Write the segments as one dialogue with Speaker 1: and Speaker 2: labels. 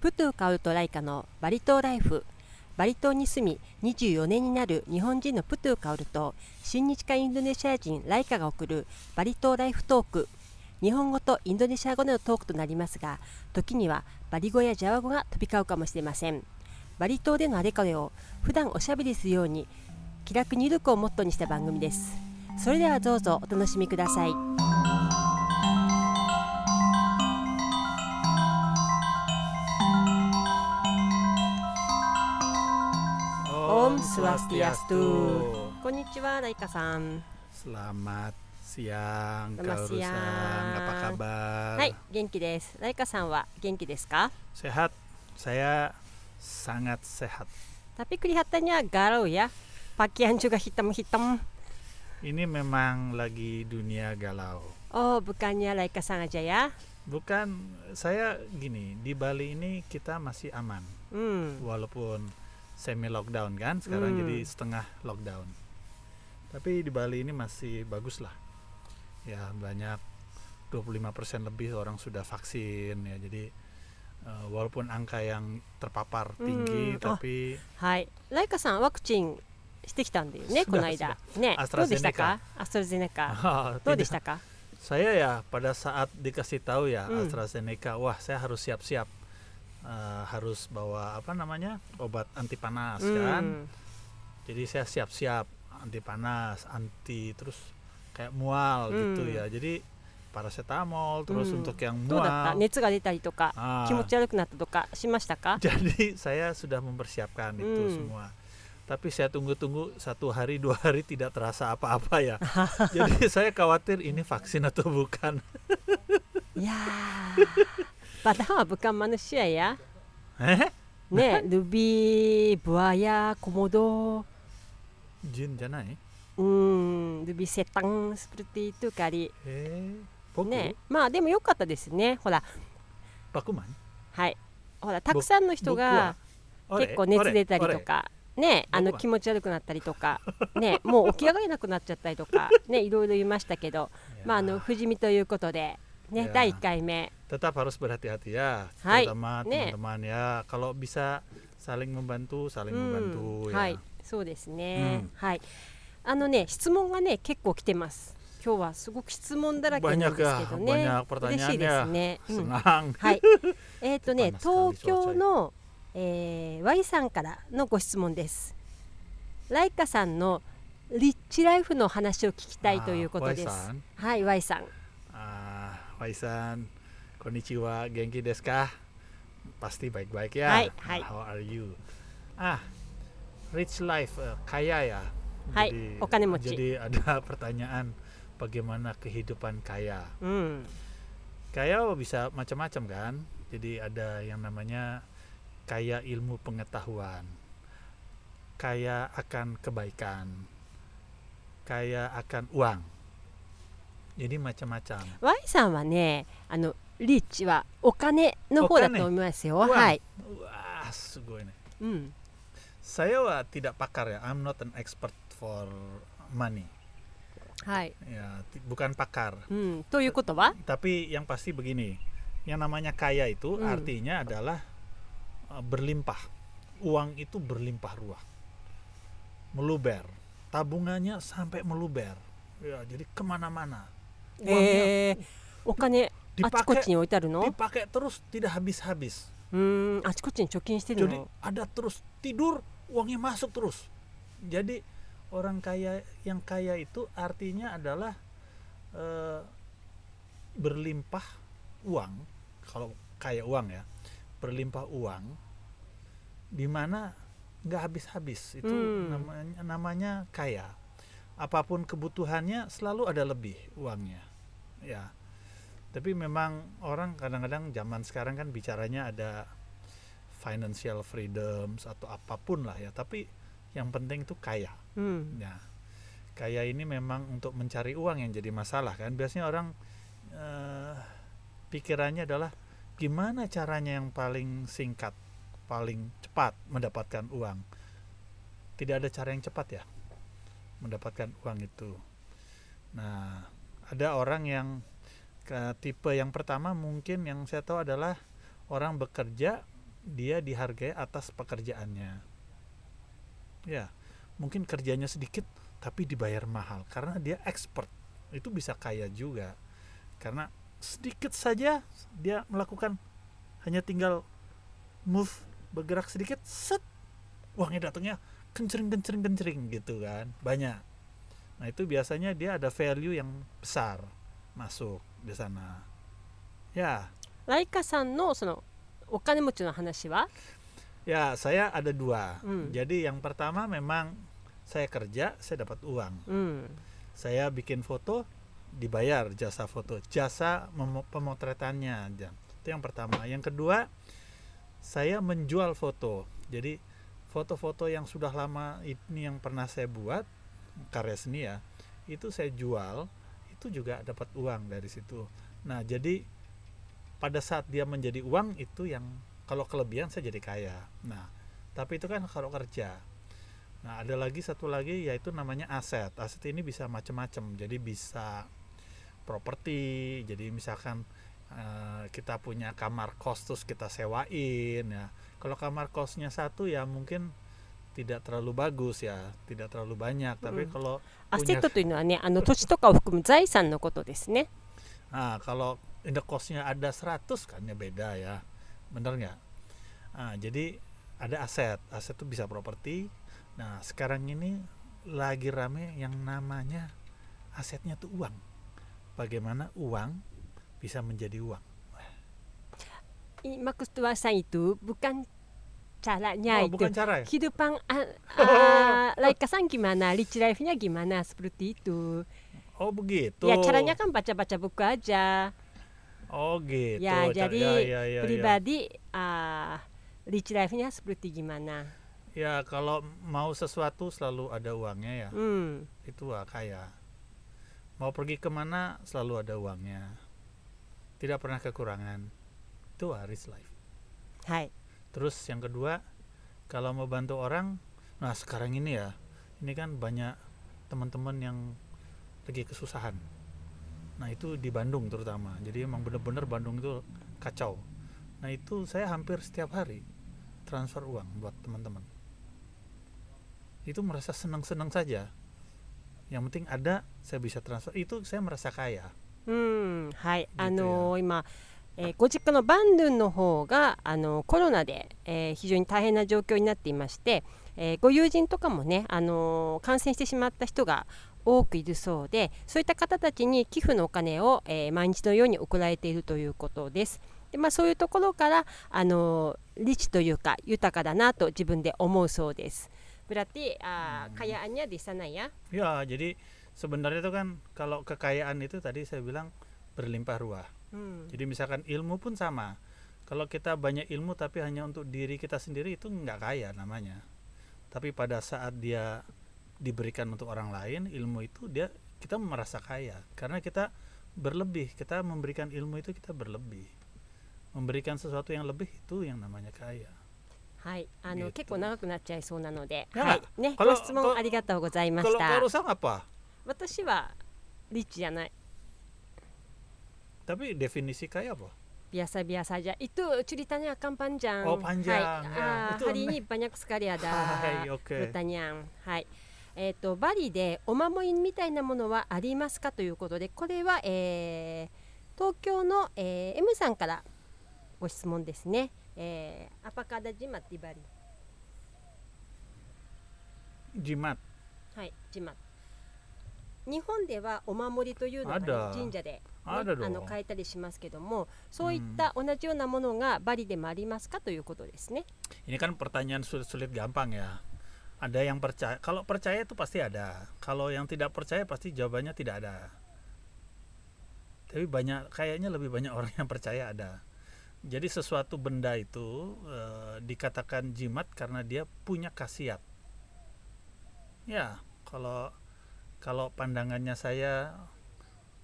Speaker 1: プトゥカウトライカのバリ島ライフバリ島に住み24年になる日本人のプトゥカウルと親日家インドネシア人ライカが送るバリ島ライフトーク日本語とインドネシア語でのトークとなりますが時にはバリ語やジャワ語が飛び交うかもしれませんバリ島でのあれこれを普段おしゃべりするように気楽にゆるくをモットーにした番組ですそれではどうぞお楽しみください Om
Speaker 2: Om
Speaker 1: Swastiastu.
Speaker 2: Swastiastu.
Speaker 1: こんにちはライカさん
Speaker 2: Selamat siang,
Speaker 1: Selamat
Speaker 2: Kak Rusan.
Speaker 1: siang.
Speaker 2: Apa kabar?
Speaker 1: はい元気ですライカさんは元気ですか
Speaker 2: Sehat. Saya sangat sehat.
Speaker 1: Tapi kelihatannya galau ya. Pakaian juga hitam-hitam.
Speaker 2: Ini memang lagi dunia galau.
Speaker 1: Oh, bukannya Laika sengaja ya?
Speaker 2: Bukan saya gini, di Bali ini kita masih aman
Speaker 1: Hmm.
Speaker 2: walaupun semi lockdown kan sekarang
Speaker 1: Hmm.
Speaker 2: jadi setengah lockdown. Tapi di Bali ini masih bagus lah. Ya banyak 25% lebih orang sudah vaksin ya. Jadi eh, walaupun angka yang terpapar
Speaker 1: Hmm,
Speaker 2: tinggi
Speaker 1: oh.
Speaker 2: tapi
Speaker 1: はい。ライカさんワクチンしてきたんだよね、
Speaker 2: そ
Speaker 1: こ
Speaker 2: うだ
Speaker 1: の間。ね、
Speaker 2: アスト
Speaker 1: どう
Speaker 2: ラ
Speaker 1: で
Speaker 2: ゼ
Speaker 1: した
Speaker 2: ネ
Speaker 1: か
Speaker 2: カ？
Speaker 1: アストラゼネ カ。どうでし
Speaker 2: oh, tidak.
Speaker 1: たか？
Speaker 2: saya ya pada saat dikasih tahu ya
Speaker 1: Hmm.
Speaker 2: AstraZeneca, wah saya harus siap-siap Eh, harus bawa apa namanya obat anti panas
Speaker 1: うん。
Speaker 2: kan. jadi saya siap-siap anti panas anti terus kayak mual gitu
Speaker 1: Hmm.
Speaker 2: ya jadi paracetamol terus
Speaker 1: Hmm.
Speaker 2: untuk yang
Speaker 1: どうだった？
Speaker 2: mual
Speaker 1: 熱が出たりとか、
Speaker 2: Ah,
Speaker 1: 気持ち悪くなったとかしましたか？
Speaker 2: jadi saya sudah mempersiapkan
Speaker 1: Hmm.
Speaker 2: itu semua tapi saya tunggu-tunggu satu hari dua hari tidak terasa apa-apa ya jadi saya khawatir ini vaksin atau bukan
Speaker 1: いやー。バダは武漢マヌシアや。
Speaker 2: eh
Speaker 1: ね、ルビー、ブアヤ、コモド。
Speaker 2: jin eh. janai
Speaker 1: Hmm, lebih setang seperti itu kali.
Speaker 2: eh boku
Speaker 1: ね、まあでも良かったですね。ほら、
Speaker 2: bakuman
Speaker 1: はい。ほら、たくさんの人が
Speaker 2: Ore,
Speaker 1: 結構熱
Speaker 2: ore,
Speaker 1: 出たりと
Speaker 2: ore.
Speaker 1: か、ね、あの
Speaker 2: 僕は
Speaker 1: 気持ち悪くなったりと か、ね、もう起き上がれなくなっちゃったりとか、ね、いろいろ言いましたけど、
Speaker 2: Ya.
Speaker 1: まああの不死身ということで、
Speaker 2: い
Speaker 1: ね
Speaker 2: や、ー
Speaker 1: 第1回目。
Speaker 2: tetap harus berhati-hati ya,
Speaker 1: Hai,
Speaker 2: terutama
Speaker 1: ne.
Speaker 2: teman-teman ya. Kalau bisa saling
Speaker 1: う
Speaker 2: membantu, saling
Speaker 1: ん、
Speaker 2: membantu ya.
Speaker 1: はい、そうですね
Speaker 2: うん。
Speaker 1: はい。あのね、質問がね、結構来てます。今日はすごく質問だらけなんですけど
Speaker 2: Banyak
Speaker 1: ね
Speaker 2: ya, banyak。pertanyaannya
Speaker 1: 嬉しいですね。うん。
Speaker 2: Senang.
Speaker 1: はい。えっ、とね、
Speaker 2: パンナス
Speaker 1: 東京の、えー、Y さんからのご質問です。ライカさんのリッチライフの話を聞きたいということです。
Speaker 2: あー Y さん
Speaker 1: はい、Y さん。
Speaker 2: Ah, Waisan, konnichiwa, genki desu ka? Pasti baik-baik ya.
Speaker 1: Hai, hai.
Speaker 2: How are you? Ah, rich life, eh, kaya ya.
Speaker 1: Hai,
Speaker 2: Jadi-
Speaker 1: okanemochi.
Speaker 2: Jadi ada pertanyaan bagaimana kehidupan kaya.
Speaker 1: うん。
Speaker 2: Kaya bisa macam-macam kan. Jadi ada yang namanya kaya ilmu pengetahuan. Kaya akan kebaikan. Kaya akan uang. Jadi macam-macam.
Speaker 1: Y さんはね、あのリッチはお金の方だと思いますよ。はい。
Speaker 2: Wah, sugoi nih.
Speaker 1: うん。
Speaker 2: Saya wah, tidak pakar ya. I'm not an expert for money.
Speaker 1: はい。
Speaker 2: Ya, ti- bukan pakar.
Speaker 1: うん。ということは？
Speaker 2: Tapi yang pasti begini. Yang namanya kaya itu
Speaker 1: Hmm.
Speaker 2: artinya adalah eh, berlimpah. Uang itu berlimpah ruah. Meluber. Tabungannya sampai meluber. Ya, jadi kemana-mana.
Speaker 1: Eh,
Speaker 2: Uangnya
Speaker 1: えー、お金あちこち
Speaker 2: dipakai
Speaker 1: に置いてあるの？
Speaker 2: dipakai terus tidak habis-habis.
Speaker 1: うーん。あちこちに貯金してる
Speaker 2: Jadi
Speaker 1: の。
Speaker 2: ada terus tidur uangnya masuk terus. Jadi orang kaya yang kaya itu artinya adalah eh, berlimpah uang. Kalau kaya uang ya, berlimpah uang di mana nggak habis-habis itu
Speaker 1: Hmm.
Speaker 2: namanya namanya kaya. Apapun kebutuhannya selalu ada lebih uangnya. Ya. Tapi memang orang kadang-kadang zaman sekarang kan bicaranya ada financial freedoms atau apapun lah ya tapi yang penting itu kaya
Speaker 1: うん。
Speaker 2: ya kaya ini memang untuk mencari uang yang jadi masalah kan biasanya orang eh, pikirannya adalah gimana caranya yang paling singkat paling cepat mendapatkan uang tidak ada cara yang cepat ya mendapatkan uang itu nah ada orang yang ke tipe yang pertama mungkin yang saya tahu adalah orang bekerja dia dihargai atas pekerjaannya. Ya, mungkin kerjanya sedikit tapi dibayar mahal karena dia expert. Itu bisa kaya juga. Karena sedikit saja dia melakukan hanya tinggal move bergerak sedikit set uangnya datangnya kencering kencering kencering gitu kan banyak nah itu biasanya dia ada value yang besar masuk di sana ya
Speaker 1: ライカさんのそのお金持ちの話は
Speaker 2: ya saya ada dua
Speaker 1: Hmm.
Speaker 2: jadi yang pertama memang saya kerja saya dapat uang
Speaker 1: うん、
Speaker 2: saya bikin foto dibayar jasa foto jasa memo- pemotretannya aja itu yang pertama yang kedua saya menjual foto jadi foto-foto yang sudah lama ini yang pernah saya buat karya seni ya itu saya jual itu juga dapat uang dari situ nah jadi pada saat dia menjadi uang itu yang kalau kelebihan saya jadi kaya nah tapi itu kan kalau kerja Nah, ada lagi satu lagi yaitu namanya aset. Aset ini bisa macam-macam. Jadi bisa properti. Jadi misalkan eh, kita punya kamar kos terus kita sewain ya. Kalau kamar kosnya satu ya mungkin tidak terlalu bagus ya, tidak terlalu banyak. Tapi
Speaker 1: Mm.
Speaker 2: kalau
Speaker 1: アセットというのはねあの土地とかを含む財産のことですね。
Speaker 2: Nah, kalau indeks kosnya ada 100 kan ya beda ya. Bener nggak? Nah, jadi ada aset. Aset itu bisa properti. Nah, sekarang ini lagi rame yang namanya asetnya tuh uang. Bagaimana uang bisa menjadi uang?
Speaker 1: I- Maksud saya itu bukan caranya
Speaker 2: Oh,
Speaker 1: itu.
Speaker 2: bukan cara ya?
Speaker 1: Kehidupan ah, ah, Laika san gimana, rich life-nya gimana seperti itu.
Speaker 2: Oh, begitu.
Speaker 1: Ya caranya kan baca-baca buku aja.
Speaker 2: Oh, gitu.
Speaker 1: Ya,
Speaker 2: Ca-
Speaker 1: jadi
Speaker 2: ya, ya, ya.
Speaker 1: Pribadi ah, rich life-nya seperti gimana.
Speaker 2: Ya, kalau mau sesuatu selalu ada uangnya ya.
Speaker 1: Hmm.
Speaker 2: itu ah, kaya mau pergi kemana selalu ada uangnya tidak pernah kekurangan itu ah, rich life
Speaker 1: Hai.
Speaker 2: terus yang kedua kalau mau bantu orang nah sekarang ini ya ini kan banyak teman-teman yang lagi kesusahan nah itu di Bandung terutama jadi emang bener-bener Bandung itu kacau nah itu saya hampir setiap hari transfer uang buat teman-teman itu merasa senang-senang saja yang penting ada saya bisa transfer itu saya merasa kaya
Speaker 1: うん、はい、
Speaker 2: や
Speaker 1: あのー今、えーご実家のバンドゥンの方が、あのーコロナで、えー非常に大変な状況になっていまして、えーご友人とかもね、あのー感染してしまった人が多くいるそうでそういった方たちに寄付のお金を、えー毎日のように送られているということです。でまあ、そういうところから、あのーリッチというか豊かだなと自分で思うそうです。ブラティ、あ
Speaker 2: うん
Speaker 1: ー、かやあにゃでさないや。
Speaker 2: ya jadi sebenarnya itu kan kalau kekayaan itu tadi saya bilang berlimpah ruah
Speaker 1: うん、
Speaker 2: Jadi misalkan ilmu pun sama. Kalau kita banyak ilmu tapi hanya untuk diri kita sendiri itu nggak kaya namanya. Tapi pada saat dia diberikan untuk orang lain, ilmu itu dia kita merasa kaya karena kita berlebih. Kita memberikan ilmu itu kita berlebih. Memberikan sesuatu yang lebih itu yang namanya kaya.
Speaker 1: はい、あの
Speaker 2: えっと
Speaker 1: 結構長くなっちゃいそうなので、
Speaker 2: いや
Speaker 1: はい、ね、
Speaker 2: この
Speaker 1: ご質問ありがとうございまし
Speaker 2: Kalau
Speaker 1: た
Speaker 2: kau。rusak apa?
Speaker 1: 私はリッチじゃない、
Speaker 2: Tapi definisi kaya apa?
Speaker 1: ビアサビアサじゃ、いとチュリタニアカンパンジャン。
Speaker 2: Oh, panjang.
Speaker 1: はい、あー
Speaker 2: Ya, itu
Speaker 1: ハリーにバニャクスカリアだ。
Speaker 2: Hai, oke.
Speaker 1: ブタニャン、はい。えっ、とバリでお守りみたいなものはありますかということで、これは、えー、東京の、えー、M さんからご質問ですね。えー、アパカダジマティバリ。
Speaker 2: Jimat.
Speaker 1: はい、ジマ。日本ではお守りというのがね、
Speaker 2: あら
Speaker 1: 神社で、ね、
Speaker 2: あらら
Speaker 1: の買えたりしますけども、そういった同じようなものがバリでもありますかということですね。
Speaker 2: Ini kan pertanyaan sulit-sulit gampang ya. Ada yang percaya, kalau percaya itu pasti ada. Kalau yang tidak percaya pasti jawabannya tidak ada. Tapi banyak kayaknya lebih banyak orang yang percaya ada. Jadi sesuatu benda itu eh, dikatakan jimat karena dia punya khasiat. Ya, kalau kalau pandangannya saya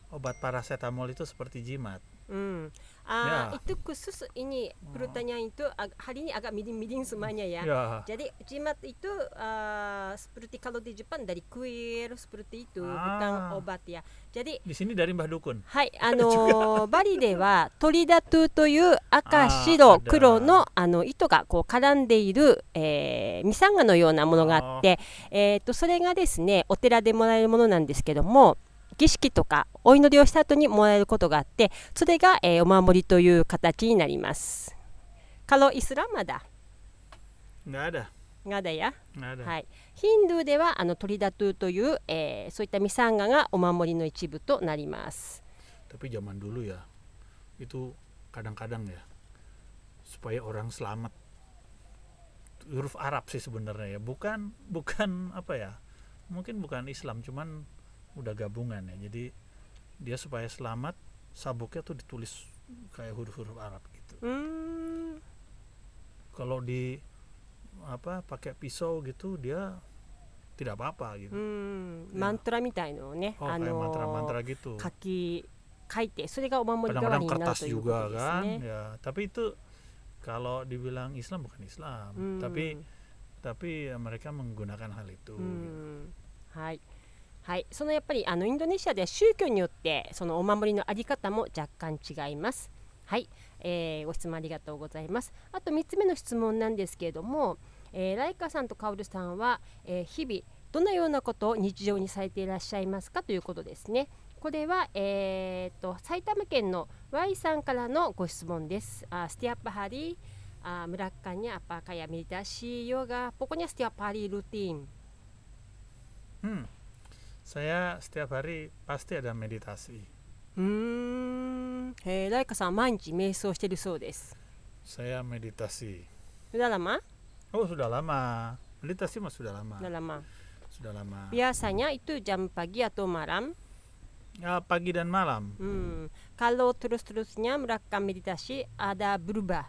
Speaker 2: obat parasetamol itu seperti jimat.
Speaker 1: うん、 Ah,
Speaker 2: Ya.
Speaker 1: itu khusus ini urutannya itu ag- hari ini agak midin-midin semuanya ya.
Speaker 2: ya
Speaker 1: Jadi jimat itu ah, seperti kalau di Jepang dari kuir seperti itu bukan
Speaker 2: Ah.
Speaker 1: obat ya. Jadi
Speaker 2: di sini dari Mbah Dukun
Speaker 1: はい、あのーバリで はトリダトゥという
Speaker 2: あ
Speaker 1: 赤
Speaker 2: ー
Speaker 1: 白
Speaker 2: あれだ
Speaker 1: 黒のあの糸がこう絡んでいる、えー、ミサンガのようなものがあってえー、とそれがですねお寺でもらえるものなんですけども儀式とかお祈りをした後にもらえることがあってそれが、えー、お守りという形になります。カロイスラマダ
Speaker 2: nggak ada
Speaker 1: ガダや
Speaker 2: nggak ada
Speaker 1: はい、ヒンドゥーではあのトリダトゥという、えーそういったミサンガがお守りの一部となります。
Speaker 2: tapi zaman dulu ya itu kadang-kadang ya supaya orang selamat huruf Arab sih sebenarnya ya bukan bukan apa ya mungkin bukan Islam cuman udah gabungan ya jadi dia supaya selamat sabuknya tuh ditulis kayak huruf-huruf Arab gitu
Speaker 1: うーん
Speaker 2: kalau di apa pakai pisau gitu dia tidak apa-apa
Speaker 1: う
Speaker 2: gitu
Speaker 1: ん
Speaker 2: うん
Speaker 1: マントラみたいのをね、
Speaker 2: oh
Speaker 1: あ
Speaker 2: kayak
Speaker 1: の
Speaker 2: mantra-mantra gitu
Speaker 1: 書き書いてそれがお守り代わり
Speaker 2: kadang-kadang
Speaker 1: になる
Speaker 2: kertas
Speaker 1: というこ
Speaker 2: juga
Speaker 1: とです
Speaker 2: kan
Speaker 1: ね。
Speaker 2: ya tapi itu kalau dibilang Islam bukan Islam
Speaker 1: うん
Speaker 2: tapi tapi ya mereka menggunakan hal itu gitu.
Speaker 1: うんはいはい、そのやっぱりあのインドネシアでは宗教によってそのお守りのあり方も若干違います。はい、えーご質問ありがとうございます。あと3つ目の質問なんですけれども、えーライカさんとカオルさんは、えー日々どのようなことを日常にされていらっしゃいますかということですね。これは、えー、と埼玉県の Y さんからのご質問です。あスティアップハリー Uh, melakukannya apakah ya meditasi, yoga, pokoknya setiap hari rutin.
Speaker 2: Hmm. saya setiap hari pasti ada meditasi
Speaker 1: うーん、えー、ライカさんは毎日瞑想してるそうです。
Speaker 2: saya meditasi
Speaker 1: うららま、
Speaker 2: oh sudah lama meditasi mah sudah lama
Speaker 1: うららま。
Speaker 2: sudah lama
Speaker 1: Biasanya itu jam pagi atau malam.
Speaker 2: Ya, pagi dan malam
Speaker 1: Hmm. Kalau terus-terusnya melakukan meditasi ada berubah.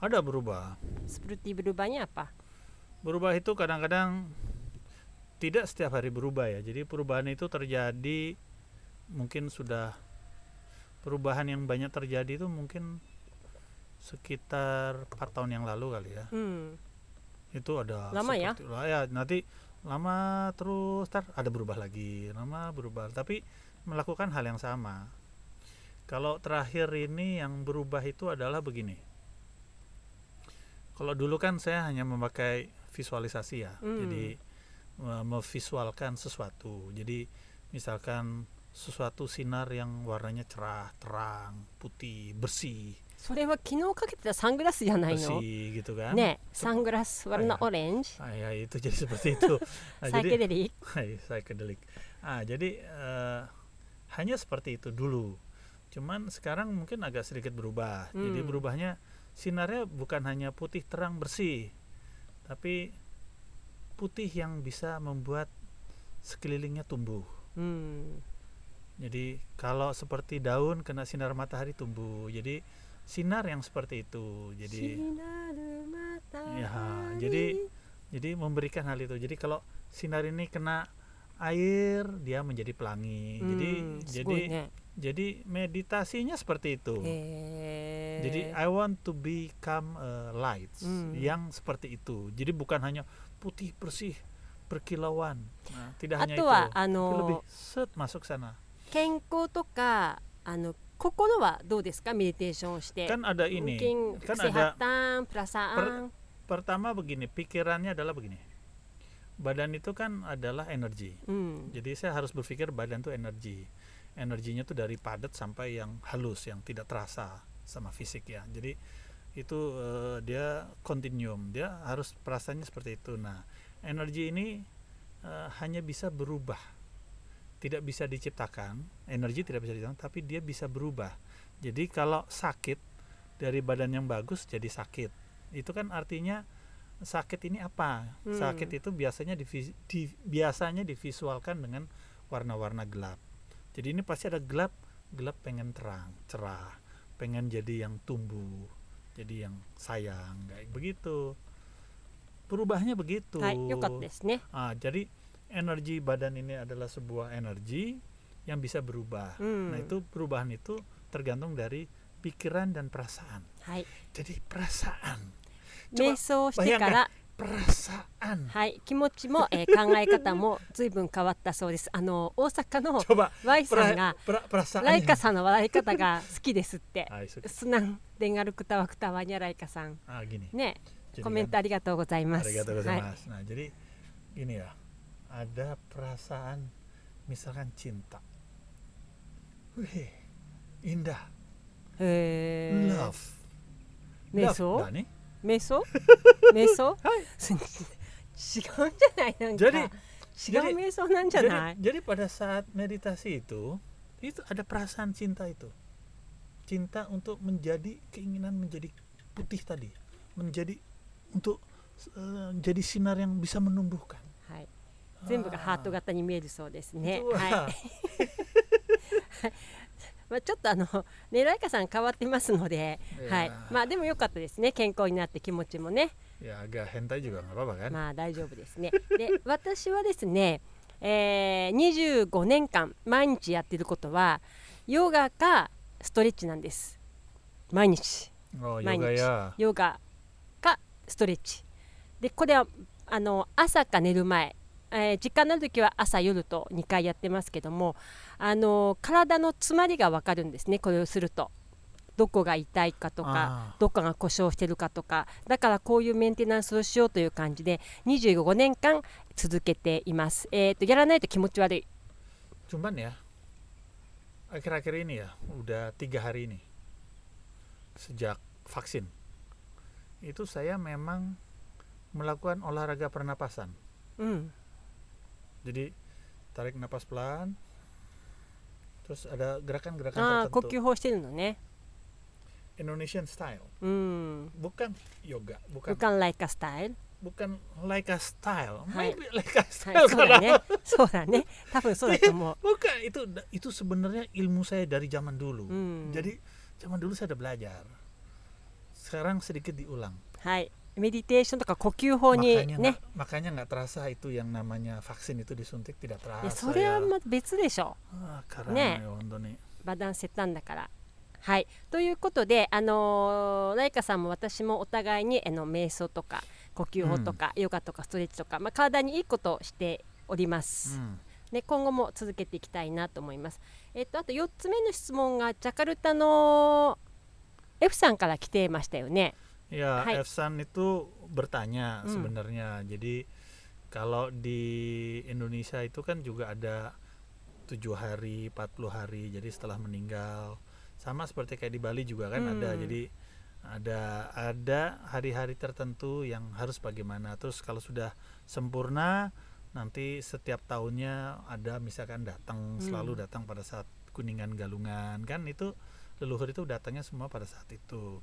Speaker 2: ada berubah
Speaker 1: Seperti berubahnya apa?
Speaker 2: berubah itu kadang-kadang tidak setiap hari berubah ya jadi perubahan itu terjadi mungkin sudah perubahan yang banyak terjadi itu mungkin sekitar 4 tahun yang lalu kali ya
Speaker 1: Hmm.
Speaker 2: itu ada
Speaker 1: Lama ya?
Speaker 2: seperti- lah ya nanti lama terus tar ada berubah lagi lama berubah tapi melakukan hal yang sama kalau terakhir ini yang berubah itu adalah begini kalau dulu kan saya hanya memakai visualisasi ya
Speaker 1: Hmm.
Speaker 2: jadi me- memvisualkan sesuatu jadi misalkan sesuatu sinar yang warnanya cerah terang putih bersih
Speaker 1: それは昨日かけてたサングラスじゃないの？
Speaker 2: bersih gitu kan
Speaker 1: ねえ、サングラス、warna
Speaker 2: Ayah.
Speaker 1: orange,
Speaker 2: Ah, ya, itu jadi seperti itu Nah,
Speaker 1: サイケデリッ
Speaker 2: Hai, psychedelic. Ah, jadi eh, hanya seperti itu dulu. Cuman sekarang mungkin agak sedikit berubah. Jadi
Speaker 1: Hmm.
Speaker 2: berubahnya sinarnya bukan hanya putih terang bersih, tapi putih yang bisa membuat sekelilingnya tumbuh.
Speaker 1: ク。うん。
Speaker 2: Jadi kalau seperti daun kena sinar matahari tumbuh. Jadi sinar yang seperti itu. Jadi
Speaker 1: や
Speaker 2: jadi- jadi memberikan hal itu. Jadi kalau sinar ini kena air, dia menjadi pelangi. Jadi
Speaker 1: す
Speaker 2: jadi
Speaker 1: ごいね。
Speaker 2: Jadi meditasinya seperti itu.
Speaker 1: へえ
Speaker 2: Jadi I want to become a light
Speaker 1: Hmm.
Speaker 2: yang seperti itu. Jadi bukan hanya putih bersih berkilauan. Nah, tidak
Speaker 1: あ
Speaker 2: hanya
Speaker 1: と
Speaker 2: itu.
Speaker 1: はあ
Speaker 2: Tapi
Speaker 1: の
Speaker 2: lebih set masuk sana.
Speaker 1: 健康とかあの心はどうですかメディテーションをして。
Speaker 2: Kan ada ini.
Speaker 1: mungkin
Speaker 2: Kan ada
Speaker 1: kesehatan, perasaan.
Speaker 2: pertama begini, pikirannya adalah begini. Badan itu kan adalah energi.
Speaker 1: Hmm.
Speaker 2: Jadi saya harus berpikir badan tuh energi. Energinya tuh dari padat sampai yang halus, yang tidak terasa sama fisik ya. Jadi itu eh, dia continuum, dia harus perasaannya seperti itu. Nah, energi ini eh, hanya bisa berubah. Tidak bisa diciptakan, energi tidak bisa diciptakan, tapi dia bisa berubah. Jadi kalau sakit dari badan yang bagus jadi sakit. Itu kan artinya sakit ini apa?
Speaker 1: Hmm.
Speaker 2: Sakit itu biasanya divis- di- biasanya divisualkan dengan warna-warna gelap. Jadi ini pasti ada gelap, gelap pengen terang, cerah, pengen jadi yang tumbuh, jadi yang sayang, kayak begitu. Perubahannya begitu.
Speaker 1: はい、よかったですね。
Speaker 2: Ah, jadi energi badan ini adalah sebuah energi yang bisa berubah.
Speaker 1: うん
Speaker 2: Nah, itu perubahan itu tergantung dari pikiran dan perasaan
Speaker 1: はい、
Speaker 2: jadi perasaan
Speaker 1: 瞑想をしてから
Speaker 2: perasaan
Speaker 1: はい、気持ちも、えー考え方も随分変わったそうです。あの大阪の
Speaker 2: coba
Speaker 1: Y さん
Speaker 2: pera-
Speaker 1: が
Speaker 2: pera- perasaan
Speaker 1: ライ
Speaker 2: yang-
Speaker 1: カさんの笑い方が好きですって。
Speaker 2: Ah, itu-
Speaker 1: すなんでんがるくたわくたわにゃライカさん
Speaker 2: ah, gini
Speaker 1: ね
Speaker 2: Jadi
Speaker 1: コメン
Speaker 2: kan-
Speaker 1: トありがとうございます。
Speaker 2: Arigatou
Speaker 1: はい
Speaker 2: gozaimasu. Nah, jadi gini ya. Ada perasaan misalkan cinta. Wih, indah.
Speaker 1: へー
Speaker 2: Love.
Speaker 1: 瞑
Speaker 2: Love.
Speaker 1: 想
Speaker 2: Nah, nih.
Speaker 1: 瞑 想瞑想違うんじゃないなんか
Speaker 2: Jadi
Speaker 1: 違う瞑想なんじゃ
Speaker 2: jadi,
Speaker 1: ない
Speaker 2: jadi pada saat meditasi itu, itu ada perasaan cinta itu. Cinta untuk menjadi keinginan menjadi putih tadi, menjadi untuk eh, jadi sinar yang bisa menumbuhkan.
Speaker 1: はい全部がハート型に見えるそうですね
Speaker 2: Itu,
Speaker 1: はい
Speaker 2: wah,
Speaker 1: まあちょっとあのねライカさん変わってますので
Speaker 2: いやー
Speaker 1: はいまあでも良かったですね健康になって気持ちもね
Speaker 2: ya agak hentai juga nggak apa-apa kan?
Speaker 1: まあ大丈夫ですね。で私はですね、えー、25年間毎日やってることはヨガかストレッチなんです。毎日
Speaker 2: Oh,
Speaker 1: Manis.
Speaker 2: yoga ya.
Speaker 1: ヨガかストレッチ。でこれはあの朝か寝る前、えー時間のある時は朝夜と2回やってますけども、あの体の詰まりがわかるんですねこれをすると。どこが痛いかとか
Speaker 2: あー
Speaker 1: どこが故障してるかとかだからこういうメンテナンスをしようという感じで25年間続けています、えー、とやらないと気持ち悪い
Speaker 2: Cuman ya akhir-akhir ini ya udah tiga hari ini sejak vaksin itu saya memang melakukan olahraga pernapasan.
Speaker 1: うん、
Speaker 2: Jadi tarik napas pelan, terus ada gerakan-gerakan
Speaker 1: ああ呼
Speaker 2: tertentu
Speaker 1: 吸法してるのね
Speaker 2: Indonesian style,
Speaker 1: うん。
Speaker 2: bukan yoga,
Speaker 1: 武
Speaker 2: bukan
Speaker 1: 漢ライカスタイル、
Speaker 2: bukan Laika style,
Speaker 1: Hai. ya.
Speaker 2: maybe Laika
Speaker 1: は
Speaker 2: style
Speaker 1: い、そうだ
Speaker 2: karena
Speaker 1: ねそうだね多分そうだと思
Speaker 2: bukan itu itu sebenarnya ilmu saya dari zaman
Speaker 1: う、
Speaker 2: dulu.
Speaker 1: うん、
Speaker 2: Jadi zaman dulu saya udah belajar. Sekarang sedikit diulang.
Speaker 1: はいメディテーションとか呼吸法に
Speaker 2: makanya
Speaker 1: ね
Speaker 2: nggak- makanya nggak terasa itu yang namanya vaksin itu disuntik tidak
Speaker 1: い
Speaker 2: terasa.
Speaker 1: やそれは
Speaker 2: ya.
Speaker 1: ま別でしょ
Speaker 2: Ah, karena
Speaker 1: Nek.
Speaker 2: ya, Honda nih.
Speaker 1: バダンセたんだから。はい、ということで、あのーライカさんも私もお互いにあの瞑想とか呼吸法とか、ヨガとかストレッチとか、まあ、体にいいことをしております、
Speaker 2: Hmm.
Speaker 1: で今後も続けていきたいなと思います、えっとあと4つ目の質問がジャカルタの F さんから来てましたよね
Speaker 2: Ya,
Speaker 1: Hai.
Speaker 2: Efsan itu bertanya
Speaker 1: Hmm.
Speaker 2: sebenarnya. Jadi kalau di Indonesia itu kan juga ada tujuh hari, 40 hari. Jadi setelah meninggal sama seperti kayak di Bali juga kan ada.
Speaker 1: Hmm.
Speaker 2: Jadi ada ada hari-hari tertentu yang harus bagaimana. Terus kalau sudah sempurna nanti setiap tahunnya ada misalkan
Speaker 1: Hmm.
Speaker 2: datang selalu datang pada saat kuningan galungan kan itu leluhur itu datangnya semua pada saat itu.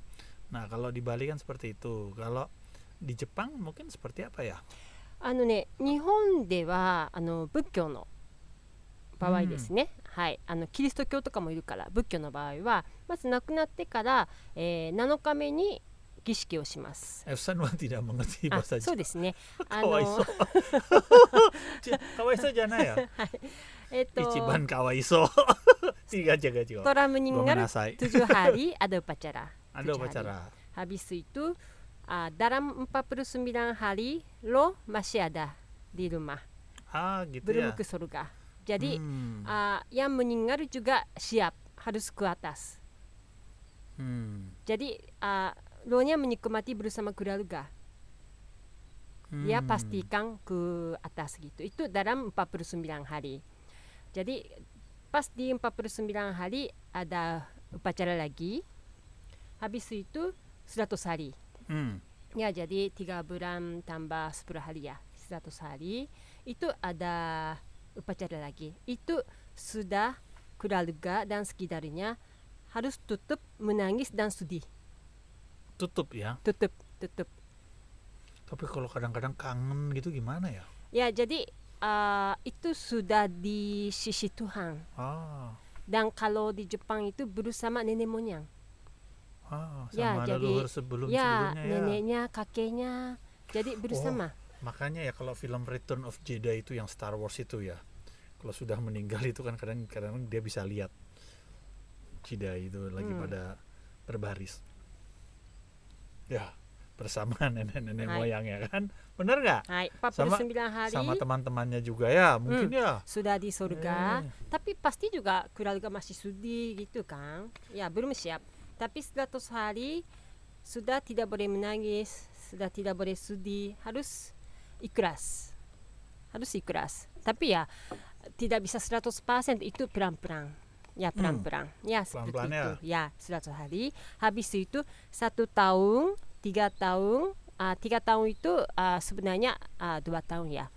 Speaker 2: Nah, kalau di Bali kan seperti itu. Kalau di Jepang mungkin seperti apa ya?
Speaker 1: あのね日本ではあの仏教の場合ですね、はいあのキリスト教とかもいるから仏教の場合はまず亡くなってから、えー7日目に儀式をします。
Speaker 2: Efsan mah tidak mengerti
Speaker 1: あ
Speaker 2: bahasa
Speaker 1: そう
Speaker 2: Jepang.
Speaker 1: ですね。あ
Speaker 2: Kawaiso.
Speaker 1: の
Speaker 2: Kawaiso jana ya?
Speaker 1: えっと
Speaker 2: Ichiban kawaiso. Tiga jaga jiwa.
Speaker 1: トラムニンガル
Speaker 2: Gomenasai.
Speaker 1: トゥジュハリ アドゥパチャラト
Speaker 2: Ada
Speaker 1: ゥジュハリ
Speaker 2: upacara.
Speaker 1: ハビスイトゥあダランパプルスミランハリロマシアダリルマ
Speaker 2: Ah, gitu
Speaker 1: ブルム
Speaker 2: ya.
Speaker 1: クソルガ。Jadi
Speaker 2: Hmm.
Speaker 1: Ah, yang meninggal juga siap harus ke atas.
Speaker 2: Hmm.
Speaker 1: Jadi ah, lo nya menikmati bersama keluarga. Dia
Speaker 2: Hmm.
Speaker 1: pastikan ke atas gitu. Itu dalam 49 hari. Jadi pas di 49 hari ada upacara lagi. Habis itu 100 hari.
Speaker 2: Hmm.
Speaker 1: Ya jadi 3 bulan tambah 10 hari ya. 100 hari itu ada upacara lagi. Itu sudah keluarga dan sekitarnya harus tutup menangis dan sedih.
Speaker 2: Tutup ya.
Speaker 1: Tutup, tutup.
Speaker 2: Tapi kalau kadang-kadang kangen gitu gimana ya?
Speaker 1: Ya jadi ah, itu sudah di sisi Tuhan.
Speaker 2: Ah.
Speaker 1: Dan kalau di Jepang itu bersama nenek moyang.
Speaker 2: Ah,
Speaker 1: Ya,
Speaker 2: sama
Speaker 1: jadi-
Speaker 2: leluhur sebelum
Speaker 1: Ya,
Speaker 2: sebelumnya ya. Oh.
Speaker 1: neneknya, kakeknya. Jadi bersama.
Speaker 2: Makanya ya kalau film Return of Jedi itu yang Star Wars itu ya. Kalau sudah meninggal itu kan kadang-kadang dia bisa lihat Jedi itu lagi
Speaker 1: Hmm.
Speaker 2: pada berbaris ya bersama nenek-nenek
Speaker 1: Hai.
Speaker 2: moyangnya kan bener nggak
Speaker 1: はい、
Speaker 2: Sama-
Speaker 1: 49 hari
Speaker 2: sama teman-temannya juga ya mungkin ya
Speaker 1: sudah di surga,
Speaker 2: Eh.
Speaker 1: tapi pasti juga keluarga masih sedih gitu kan? Ya belum siap. Tapi 100 hari sudah tidak boleh menangis, sudah tidak boleh sedih, harus ikhlas, harus ikhlas. Tapi ya tidak bisa 100% itu pelan-pelan. Ya
Speaker 2: Hmm.
Speaker 1: pelan-pelan. Ya seperti
Speaker 2: Pelan-pelan ya.
Speaker 1: itu. Ya 100 hari. Habis itu satu tahun, tiga tahun, ah, tiga tahun itu ah, sebenarnya ah, dua tahun ya.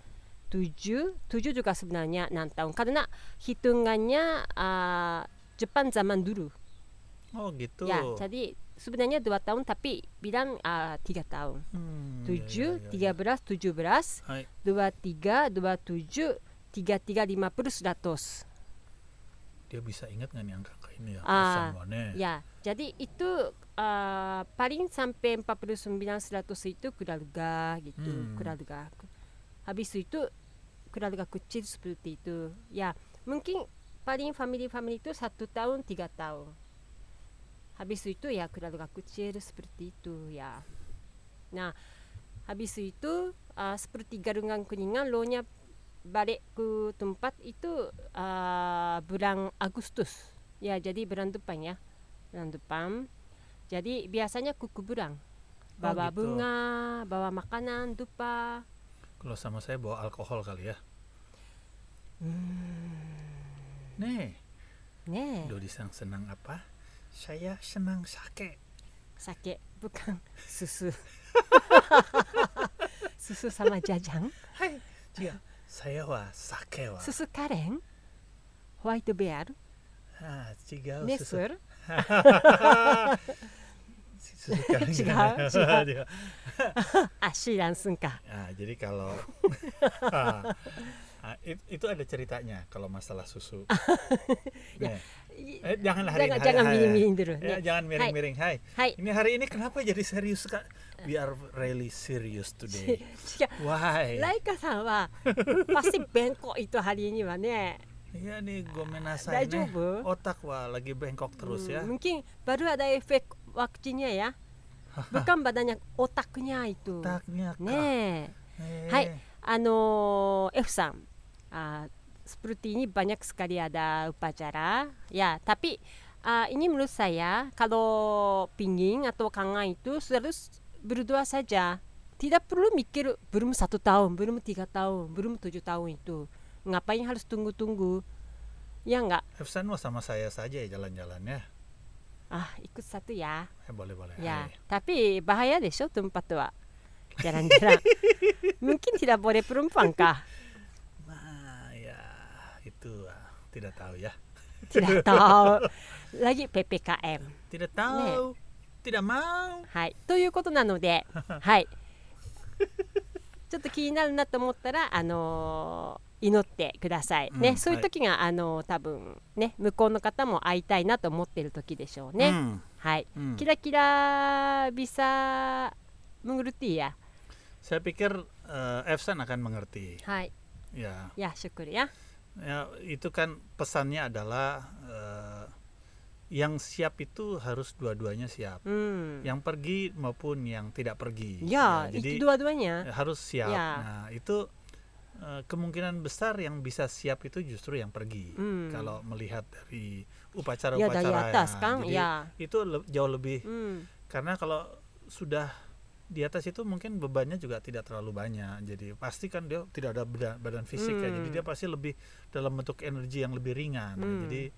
Speaker 1: 7, 7 juga sebenarnya 6 tahun karena hitungannya ah, Jepang zaman dulu
Speaker 2: oh gitu
Speaker 1: ya jadi sebenarnya dua tahun tapi bilang ah, tiga tahun
Speaker 2: Hmm, ya,
Speaker 1: 7,
Speaker 2: ya, ya, ya.
Speaker 1: 13, 17,
Speaker 2: Hai.
Speaker 1: 23, 27, 33, 50, 100
Speaker 2: dia bisa ingat nggak nih angka kayak ini ya
Speaker 1: Ah,
Speaker 2: pesangonnya
Speaker 1: ya jadi itu ah, paling sampai 49, 100 itu keluarga gitu
Speaker 2: Hmm.
Speaker 1: keluarga habis itu keluarga kecil seperti itu ya mungkin paling family-family itu satu tahun tiga tahun habis itu ya keluarga kecil seperti itu ya nah habis itu ah, seperti garungan kuningan lohnya balik ke tempat itu ah, bulan Agustus ya jadi bulan depan ya bulan depan jadi biasanya ke kuburan bawa
Speaker 2: gitu.
Speaker 1: bunga bawa makanan dupa
Speaker 2: kalau sama saya bawa alkohol kali ya
Speaker 1: Hmm.
Speaker 2: nih
Speaker 1: Ne,
Speaker 2: Dodi sang senang apa saya senang sake
Speaker 1: sake bukan susu. susu sama jajang,
Speaker 2: hai dia saya wa sake wa
Speaker 1: susu karen, white bear,
Speaker 2: ah
Speaker 1: Oh,
Speaker 2: tiga susu
Speaker 1: nesur,
Speaker 2: susu kali
Speaker 1: 違う、
Speaker 2: kan?
Speaker 1: 違う。
Speaker 2: Dia-
Speaker 1: ashi langsung kah?
Speaker 2: Nah, jadi kalau Ah, it- itu ada ceritanya kalau masalah susu. Nih,
Speaker 1: I-
Speaker 2: eh, janganlah hari
Speaker 1: Jangan
Speaker 2: hari-
Speaker 1: jangan
Speaker 2: hari-
Speaker 1: miring-miring dulu.
Speaker 2: Ya,
Speaker 1: Ne.
Speaker 2: jangan miring-miring. Hai.
Speaker 1: Hai,
Speaker 2: Ini hari ini kenapa jadi serius Kak? We are really serious today.
Speaker 1: 違う。
Speaker 2: Why?
Speaker 1: ライカさん は pasti bengkok itu hari ini eh. はね、
Speaker 2: Iya nih gomenasai
Speaker 1: Daijoubu?
Speaker 2: nih. Otak wah lagi bengkok eh. Oh, terus ya.
Speaker 1: Hmm, mungkin baru ada efek waktunya ya. Bukan badannya, otaknya itu.
Speaker 2: Otaknya Kak.
Speaker 1: Ne.
Speaker 2: Eh,
Speaker 1: gitu. Hai.あのー F さん、あー seperti ini banyak sekali ada upacara. Ya, tapi ah, ini menurut saya kalau pingin atau kangen itu selalu s- berdoa saja. Tidak perlu mikir belum satu tahun, belum tiga tahun, belum tujuh tahun itu. Ngapain harus tunggu-tunggu? Ya enggak?
Speaker 2: Efsan mau sama saya saja ya jalan-jalannya.
Speaker 1: Ah, ikut satu ya.
Speaker 2: Eh, boleh-boleh.
Speaker 1: Ya,
Speaker 2: Hai.
Speaker 1: tapi bahaya deh show tempat tua. Jalan-jalan. Mungkin tidak boleh perempuan kah?
Speaker 2: Nah, ya itu ah, tidak tahu ya.
Speaker 1: Tidak tahu. Lagi PPKM.
Speaker 2: Tidak tahu. Tidak mau.
Speaker 1: はい、ということなので、はい、ちょっと気になるなと思ったら、あのー祈ってください、ね
Speaker 2: うん
Speaker 1: そういう時が、あのー多分ね向こうの方も会いたいなと思ってる時でしょうね、
Speaker 2: Hmm,
Speaker 1: はい、
Speaker 2: hmm.
Speaker 1: キラキラビサムグルティーヤ
Speaker 2: Saya pikir eh, Efsan akan mengerti.
Speaker 1: はい
Speaker 2: Ya,
Speaker 1: いやシュクルや
Speaker 2: ya itu kan pesannya adalah eh, yang siap itu harus dua-duanya siap.
Speaker 1: うんい
Speaker 2: Yang pergi maupun yang tidak pergi.
Speaker 1: や
Speaker 2: Ya,
Speaker 1: い
Speaker 2: jadi
Speaker 1: きどわどわにゃ
Speaker 2: harus siap.
Speaker 1: Ya.
Speaker 2: Nah, itu eh, kemungkinan besar yang bisa siap itu justru yang pergi.
Speaker 1: Hmm. Iya,
Speaker 2: Kalau melihat
Speaker 1: い
Speaker 2: dari
Speaker 1: や
Speaker 2: upacara-upacara ya.
Speaker 1: だやたすかん
Speaker 2: Jadi
Speaker 1: いや
Speaker 2: itu le- jauh lebih
Speaker 1: うん、
Speaker 2: karena kalau sudah di atas itu mungkin bebannya juga tidak terlalu banyak. Jadi pasti kan dia tidak ada beda- badan, fisik ya. Jadi
Speaker 1: Hmm.
Speaker 2: dia pasti lebih dalam bentuk energi yang lebih ringan. Nah,
Speaker 1: Hmm.
Speaker 2: Jadi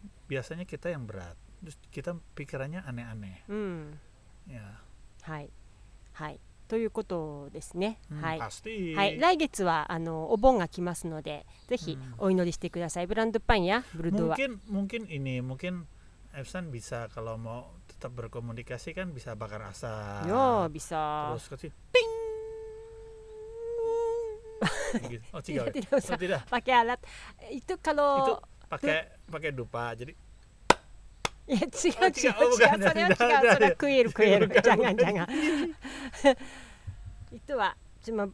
Speaker 2: biasanya kita yang berat. Terus kita pikirannya aneh-aneh
Speaker 1: うん、
Speaker 2: ya.
Speaker 1: はいはいということですね、
Speaker 2: Hmm,
Speaker 1: はい
Speaker 2: Pasti.
Speaker 1: はい、来月はあのお盆が来ますので、ぜひ
Speaker 2: うん
Speaker 1: お祈りしてください。ブランドパンやブルドワ。
Speaker 2: mungkin mungkin ini mungkin Efsan bisa kalau mau tetap berkomunikasi kan bisa bakar asap.
Speaker 1: よう、ビサ。
Speaker 2: Terus kasih ting. Gitu. Oh, tiga.
Speaker 1: Tidak, tidak usah.
Speaker 2: Oh, tidak.
Speaker 1: Pakai alat. Itu
Speaker 2: Itu
Speaker 1: kalau
Speaker 2: pakai pakai dupa. Jadi
Speaker 1: ya違う違う違う。そ
Speaker 2: あ違う
Speaker 1: れは違う。それ
Speaker 2: bukan. Tidak, tidak.
Speaker 1: はクイルクイル。
Speaker 2: Bukan,
Speaker 1: Jangan
Speaker 2: bukan.
Speaker 1: jangan. Itu はちょ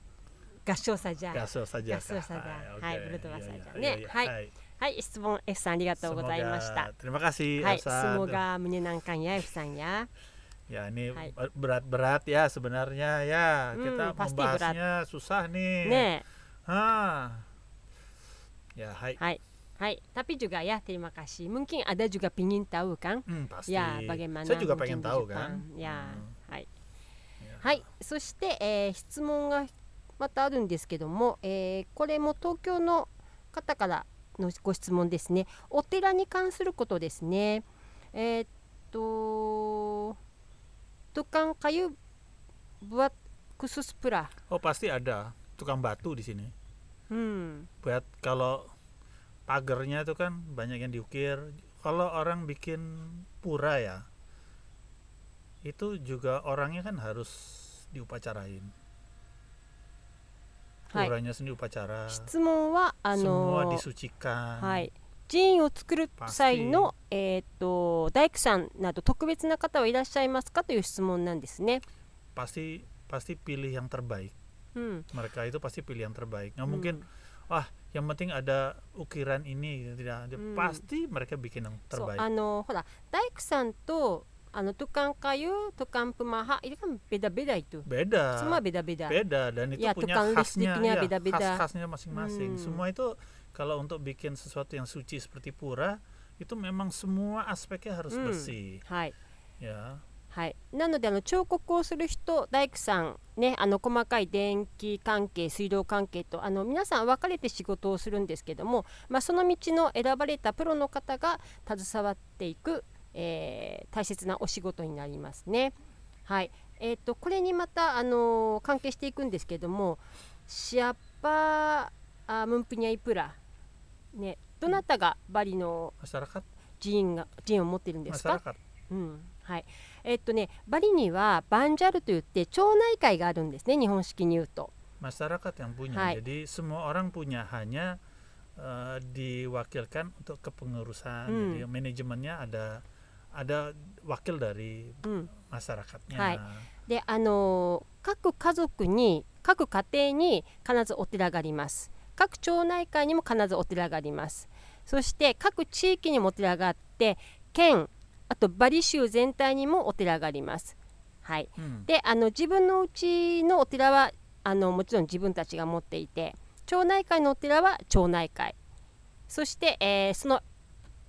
Speaker 1: 合唱さじゃ。
Speaker 2: gasol saja.
Speaker 1: Gasol Nah, saja.
Speaker 2: Kak. Hai,
Speaker 1: Hai,
Speaker 2: oke.
Speaker 1: berdoa
Speaker 2: Iya,
Speaker 1: saja.
Speaker 2: iya,
Speaker 1: Nek,
Speaker 2: iya,
Speaker 1: hai. はい、質問 F さんありがとうございました。
Speaker 2: Semoga- Terima kasih
Speaker 1: はい、
Speaker 2: Elsa.
Speaker 1: semoga menyenangkan ya F さんや。
Speaker 2: Ya ini
Speaker 1: Hai.
Speaker 2: berat-berat ya sebenarnya ya
Speaker 1: Hmm,
Speaker 2: kita
Speaker 1: pasti
Speaker 2: membahasnya susah nih.
Speaker 1: ね
Speaker 2: Hah. Ya, hai.
Speaker 1: eh,はい、はい、tapi juga ya terima kasih. Mungkin ada juga pingin tahu kan?
Speaker 2: Hmm, pasti.
Speaker 1: Ya, bagaimana?
Speaker 2: Saya juga
Speaker 1: mungkin
Speaker 2: pengen
Speaker 1: di
Speaker 2: tahu
Speaker 1: Jepang.
Speaker 2: kan.
Speaker 1: Ya,
Speaker 2: Hmm.
Speaker 1: はい、
Speaker 2: Ya.
Speaker 1: はい、そして、えー質問がまたあるんですけども、えーこれも東京の方からのご質問ですね。お寺に関することですね。えーっと、ドカンカユブワクスプラ。
Speaker 2: Oh, pasti ada tukang batu di sini.
Speaker 1: うん、
Speaker 2: Buat kalau pagernya itu kan banyak yang diukir. Kalau orang bikin pura ya, itu juga orangnya kan harus diupacarain.
Speaker 1: はい。
Speaker 2: Puranya sendiri upacara.
Speaker 1: 質問はあ
Speaker 2: semua
Speaker 1: の
Speaker 2: disucikan.
Speaker 1: はい、寺院を作る際の、えー、と大工さんなど特別な方はいらっしゃいますかという質問なんですね。
Speaker 2: Pasti pasti pilih yang terbaik.
Speaker 1: うん、
Speaker 2: Mereka itu pasti pilih yang terbaik.
Speaker 1: Hmm.
Speaker 2: Nggak mungkin yang penting ada ukiran ini gitu, tidak. Dia-
Speaker 1: Hmm.
Speaker 2: Pasti mereka bikin yang
Speaker 1: そう
Speaker 2: terbaik.
Speaker 1: あのほら大工さんとあのトカンカユトカンプマハいるかもベダベダいと
Speaker 2: Beda.
Speaker 1: そまベダベダ
Speaker 2: Beda dan itu
Speaker 1: Ya,
Speaker 2: punya
Speaker 1: tukang
Speaker 2: khasnya
Speaker 1: listriknya
Speaker 2: ya,
Speaker 1: beda-beda.
Speaker 2: khas-khasnya masing-masing.
Speaker 1: Hmm.
Speaker 2: Semua itu kalau untuk bikin sesuatu yang suci seperti pura itu memang semua aspeknya harus
Speaker 1: Hmm.
Speaker 2: bersih
Speaker 1: はい
Speaker 2: ya.
Speaker 1: はい、なのであの彫刻をする人大工さん、ね、あの細かい電気関係水道関係とあの皆さん分かれて仕事をするんですけども、まあ、その道の選ばれたプロの方が携わっていく、えー大切なお仕事になりますね。はいえー、とこれにまた、あのー関係していくんですけどもシアッパームンプニャイプラ、ね、どなたがバリの
Speaker 2: Masyarakat
Speaker 1: 寺院が寺院を持ってるんですか
Speaker 2: masyarakat.
Speaker 1: うんはいえっとね、バリにはバンジャルといって町内会があるんですね日本式に言うと。
Speaker 2: masyarakat yang punya.
Speaker 1: Hai.
Speaker 2: Jadi semua orang punya hanya eh, diwakilkan untuk kepengurusan.
Speaker 1: Hmm.
Speaker 2: Jadi manajemennya ada ada wakil dari
Speaker 1: うん、
Speaker 2: masyarakatnya.
Speaker 1: Hmm. Hai. であのー各家族に各家庭に必ずお寺があります各町内会にも必ずお寺がありますそして各地域にもお寺があって県あとバリ州全体にもお寺があります。はい
Speaker 2: Hmm.
Speaker 1: であの自分のうちのお寺はあのもちろん自分たちが持っていて町内会のお寺は町内会そして、えーその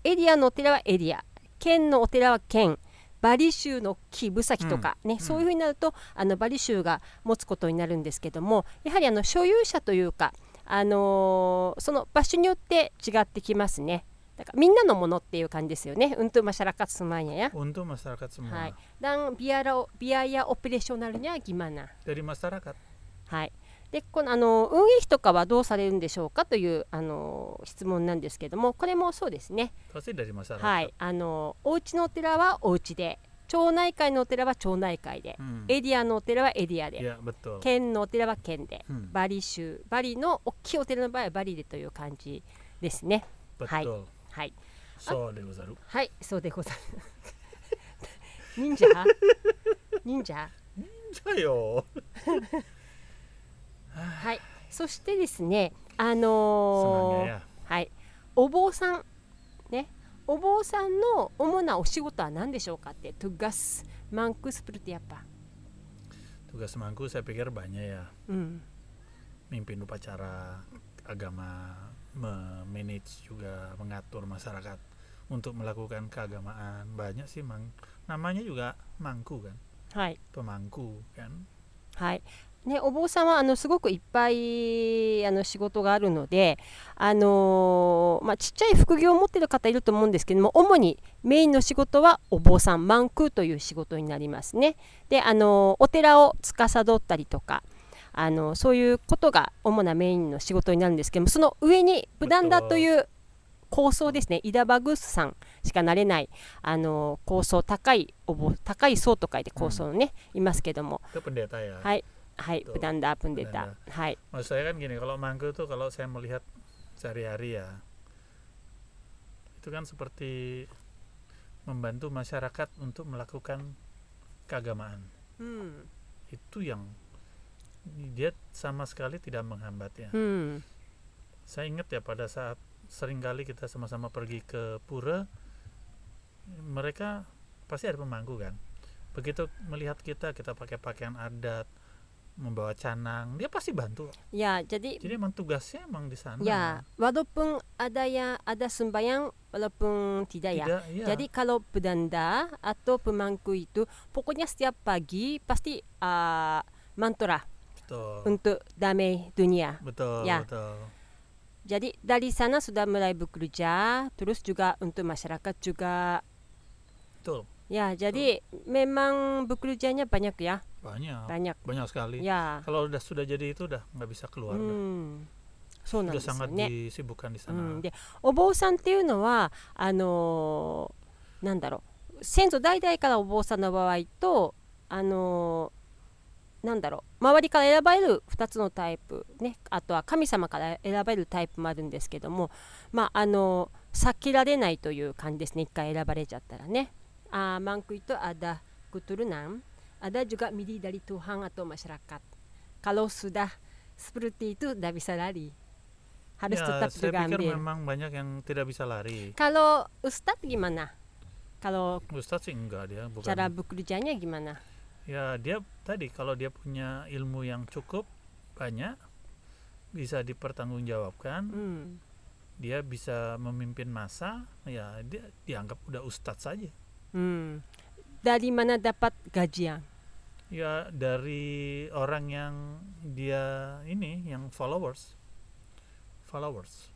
Speaker 1: エリアのお寺はエリア県のお寺は県バリ州の木ブサキとか、ね
Speaker 2: ん
Speaker 1: そういうふうになるとあのバリ州が持つことになるんですけどもやはりあの所有者というか、あのーその場所によって違ってきますねだからみんなのものっていう感じですよねうんとましゃらかつまんやや。
Speaker 2: Untuk masyarakat semua.
Speaker 1: はい、dan biaya biaya operasionalnya gimana?
Speaker 2: Dari masyarakat.
Speaker 1: はい。でこのあの運営費とかはどうされるんでしょうかというあの質問なんですけども、これもそうですね。
Speaker 2: Pasti dari masyarakat.
Speaker 1: はい。あのお家のお寺はお家で、町内会のお寺は町内会で、
Speaker 2: Hmm.
Speaker 1: エリアのお寺はエリアで、
Speaker 2: Ya, betul.
Speaker 1: 県のお寺は県で、
Speaker 2: Hmm,
Speaker 1: バリ州バリの大きいお寺の場合はバリでという感じですね。Hai.
Speaker 2: betul.
Speaker 1: はい。
Speaker 2: So, Dewa Zaru.
Speaker 1: はい、そうでございます。 忍者？忍者？
Speaker 2: Sayo.
Speaker 1: はい、そしてですね、あ
Speaker 2: Senangnya
Speaker 1: のー
Speaker 2: ya.
Speaker 1: はい、お坊さん、ね、お坊さんの主なお仕事は何でしょうかって、トゥガス、マンクスプルティアッパ。
Speaker 2: Tugas mangku saya pikir banyak ya.
Speaker 1: うん、
Speaker 2: Mimpin upacara, agama, memanage juga mengatur masyarakat untuk melakukan keagamaan. Banyak sih mang. Namanya juga mangku kan,
Speaker 1: はい、
Speaker 2: pemangku kan.
Speaker 1: はい。ね、お坊さんはあのすごくいっぱいあの仕事があるので、あのーまあ、ちっちゃい副業を持ってる方いると思うんですけども主にメインの仕事はお坊さんマンクーという仕事になりますね。で、あのーお寺を司ったりとか、あのーそういうことが主なメインの仕事になるんですけどもその上にブダンダという構想ですねイダバグースさんしかなれない、あのー構想高いお坊高い層と書いて構想のね、いますけども
Speaker 2: Itu pendeta ya.
Speaker 1: はい、はい、
Speaker 2: Betul.
Speaker 1: ブダンダープンデタ。はい、
Speaker 2: Maksud saya kan gini, kalau mangku itu kalau saya melihat sehari-hari ya, itu kan seperti membantu masyarakat untuk melakukan keagamaan.
Speaker 1: うん、
Speaker 2: Itu yang dia sama sekali tidak menghambat ya.
Speaker 1: うん、
Speaker 2: Saya ingat ya pada saat seringkali kita sama-sama pergi ke pura mereka pasti ada pemangku kan begitu melihat kita kita pakai pakaian adat membawa canang dia pasti bantu
Speaker 1: Ya, jadi
Speaker 2: jadi emang tugasnya emang di sana
Speaker 1: ya walaupun ada yang ada sembahyang walaupun tidak ya.
Speaker 2: tidak ya.
Speaker 1: Jadi kalau pedanda atau pemangku itu pokoknya setiap pagi pasti ah, mantra
Speaker 2: betul
Speaker 1: untuk damai dunia.
Speaker 2: betul
Speaker 1: ya.
Speaker 2: betul
Speaker 1: Jadi dari sana sudah mulai bekerja, terus juga untuk masyarakat juga.
Speaker 2: betul
Speaker 1: Ya, jadi memang bekerjanya banyak ya,
Speaker 2: banyak
Speaker 1: banyak.
Speaker 2: banyak sekali
Speaker 1: Ya. Hmm,
Speaker 2: kalau udah sudah jadi itu udah nggak bisa keluar udah.
Speaker 1: うん、そうなんで
Speaker 2: udah
Speaker 1: すよ
Speaker 2: sangat
Speaker 1: ね。
Speaker 2: disibukkan
Speaker 1: う
Speaker 2: di sana
Speaker 1: ん、でお坊さんっていうのはあのーなんだろう先祖代々からお坊さんの場合とあのーなんだろう周りから選ばれる2つのタイプ、ね、あとは神様から選ばれるタイプもあるんですけども、まああのー避けられないという感じですね一回選ばれちゃったらね。あーマンクイとアダクトゥルナンアダ juga milih dari Tuhan atau masyarakat kalau sudah seperti itu tidak bisa lari harus
Speaker 2: Ya,
Speaker 1: tetap juga
Speaker 2: saya pikir
Speaker 1: ambil
Speaker 2: memang banyak yang tidak bisa lari
Speaker 1: Kalau Ustadz gimana? Kalau
Speaker 2: Ustadz sih enggak dia bukan
Speaker 1: cara bekerjanya gimana?
Speaker 2: ya dia tadi kalau dia punya ilmu yang cukup banyak bisa dipertanggungjawabkan
Speaker 1: Hmm.
Speaker 2: dia bisa memimpin masa ya dia dianggap udah ustadz saja
Speaker 1: Hmm. Dari mana dapat gajian?
Speaker 2: ya dari orang yang dia ini yang followers followers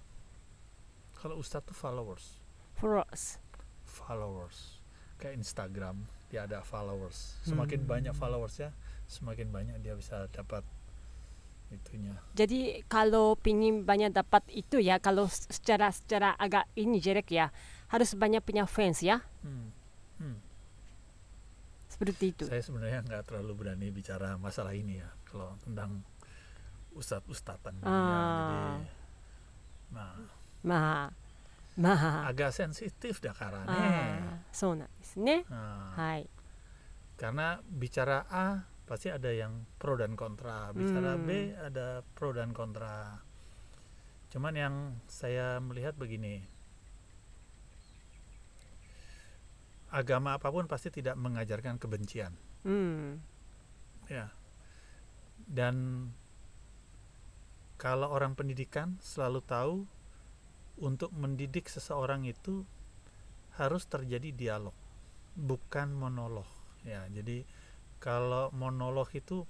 Speaker 2: kalau ustadz tuh followers
Speaker 1: Followers.
Speaker 2: followers kayak Instagram dia ada followers semakin
Speaker 1: Hmm.
Speaker 2: banyak followers ya semakin banyak dia bisa dapat itunya
Speaker 1: Jadi kalau pingin banyak dapat itu ya, kalau s- secara secara agak ini jelek ya, harus banyak punya fans ya,
Speaker 2: Hmm. Hmm.
Speaker 1: seperti itu.
Speaker 2: saya sebenarnya nggak terlalu berani bicara masalah ini ya kalau tentang ustadz ustadzan ya, jadi
Speaker 1: Ah.
Speaker 2: nah,
Speaker 1: Ma, ma,
Speaker 2: agak sensitif dah karena
Speaker 1: ah, so なんですね。
Speaker 2: Nah,
Speaker 1: はい。
Speaker 2: karena bicara A pasti ada yang pro dan kontra bicara
Speaker 1: Hmm.
Speaker 2: B ada pro dan kontra cuman yang saya melihat begini agama apapun pasti tidak mengajarkan kebencian
Speaker 1: うん。
Speaker 2: ya dan kalau orang pendidikan selalu tahu untuk mendidik seseorang itu harus terjadi dialog bukan monolog ya jadi kalau monolog itu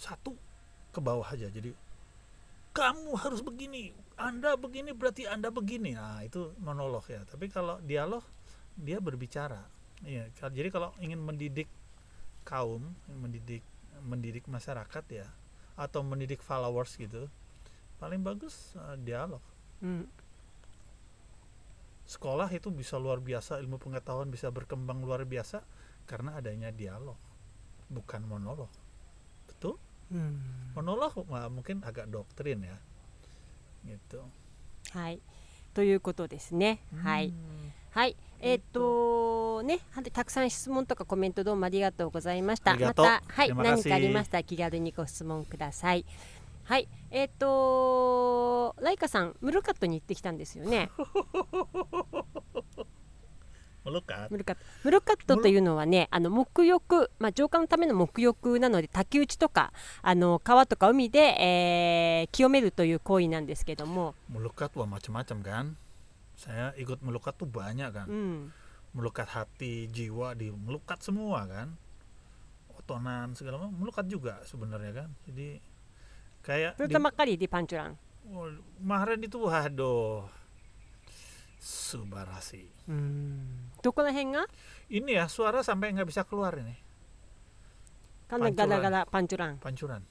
Speaker 2: satu ke bawah aja jadi kamu harus begini anda begini berarti anda begini nah itu monolog ya tapi kalau dialog dia berbicara ya ka- jadi kalau ingin mendidik kaum mendidik mendidik masyarakat ya atau mendidik followers gitu paling bagus eh, dialog
Speaker 1: うん。
Speaker 2: sekolah itu bisa luar biasa ilmu pengetahuan bisa berkembang luar biasa karena adanya dialog bukan monolog betul
Speaker 1: うん。
Speaker 2: monolog wah, mungkin agak doktrin ya gitu
Speaker 1: はい。ということですね。はい。
Speaker 2: Hmm.
Speaker 1: はい、え
Speaker 2: え
Speaker 1: っ
Speaker 2: っ
Speaker 1: とね、はてたくさん質問とかコメントどうもありがとうございました。
Speaker 2: ありが
Speaker 1: ま
Speaker 2: とう
Speaker 1: た、はい、
Speaker 2: 山田
Speaker 1: 何かあり
Speaker 2: 氏
Speaker 1: ましたら気軽にご質問ください。はい、えっと、ライカさん、ムルカットに行ってきたんですよ ね。
Speaker 2: melukat
Speaker 1: ムルカット、ムルカットというのはね、あの沐浴、まあ浄化のための沐浴なので、滝打ちとか。あの川とか海で、えー清めるという行為なんですけども。
Speaker 2: melukat wah macam-macam kan saya ikut melukat tuh banyak kan
Speaker 1: うん、
Speaker 2: melukat hati jiwa di melukat semua kan otonan segala macam melukat juga sebenarnya kan jadi kayak
Speaker 1: それ
Speaker 2: di,
Speaker 1: とばっかりでパンチュラン。
Speaker 2: Wah, Mahren itu waduh subarasi
Speaker 1: うん、どこら辺が。
Speaker 2: ini ya suara sampai nggak bisa keluar ini
Speaker 1: ガラガラガラパンチュラン。
Speaker 2: pancuran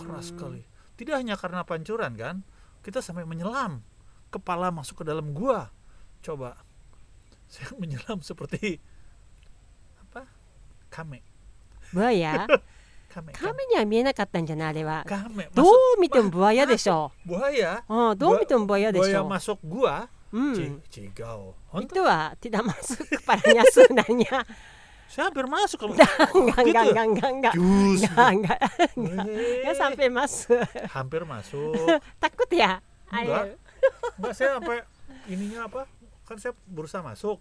Speaker 2: keras
Speaker 1: keras
Speaker 2: sekali tidak hanya karena pancuran kan kita sampai menyelam kepala masuk ke dalam gua coba saya menyelam seperti apa kame
Speaker 1: ブワイヤ
Speaker 2: kame
Speaker 1: 亀には見えなかったんじゃないあれは
Speaker 2: kame
Speaker 1: どう
Speaker 2: masuk
Speaker 1: 見てもブワイヤでしょ
Speaker 2: buaya
Speaker 1: うんどう見てもブワイヤでし
Speaker 2: buaya
Speaker 1: ょ
Speaker 2: masuk gua
Speaker 1: う
Speaker 2: Ci-
Speaker 1: ん
Speaker 2: cigau Honto,
Speaker 1: 人は手玉すくパラニャスーナニ ャ
Speaker 2: saya hampir masuk kalau
Speaker 1: ガンガンガンガンガン
Speaker 2: jus
Speaker 1: ガンガン
Speaker 2: Eh,
Speaker 1: 皆さんペます
Speaker 2: hampir masuk
Speaker 1: タックテやあれ
Speaker 2: Enggak. Mbak saya sampai ininya apa? Kan saya berusaha masuk.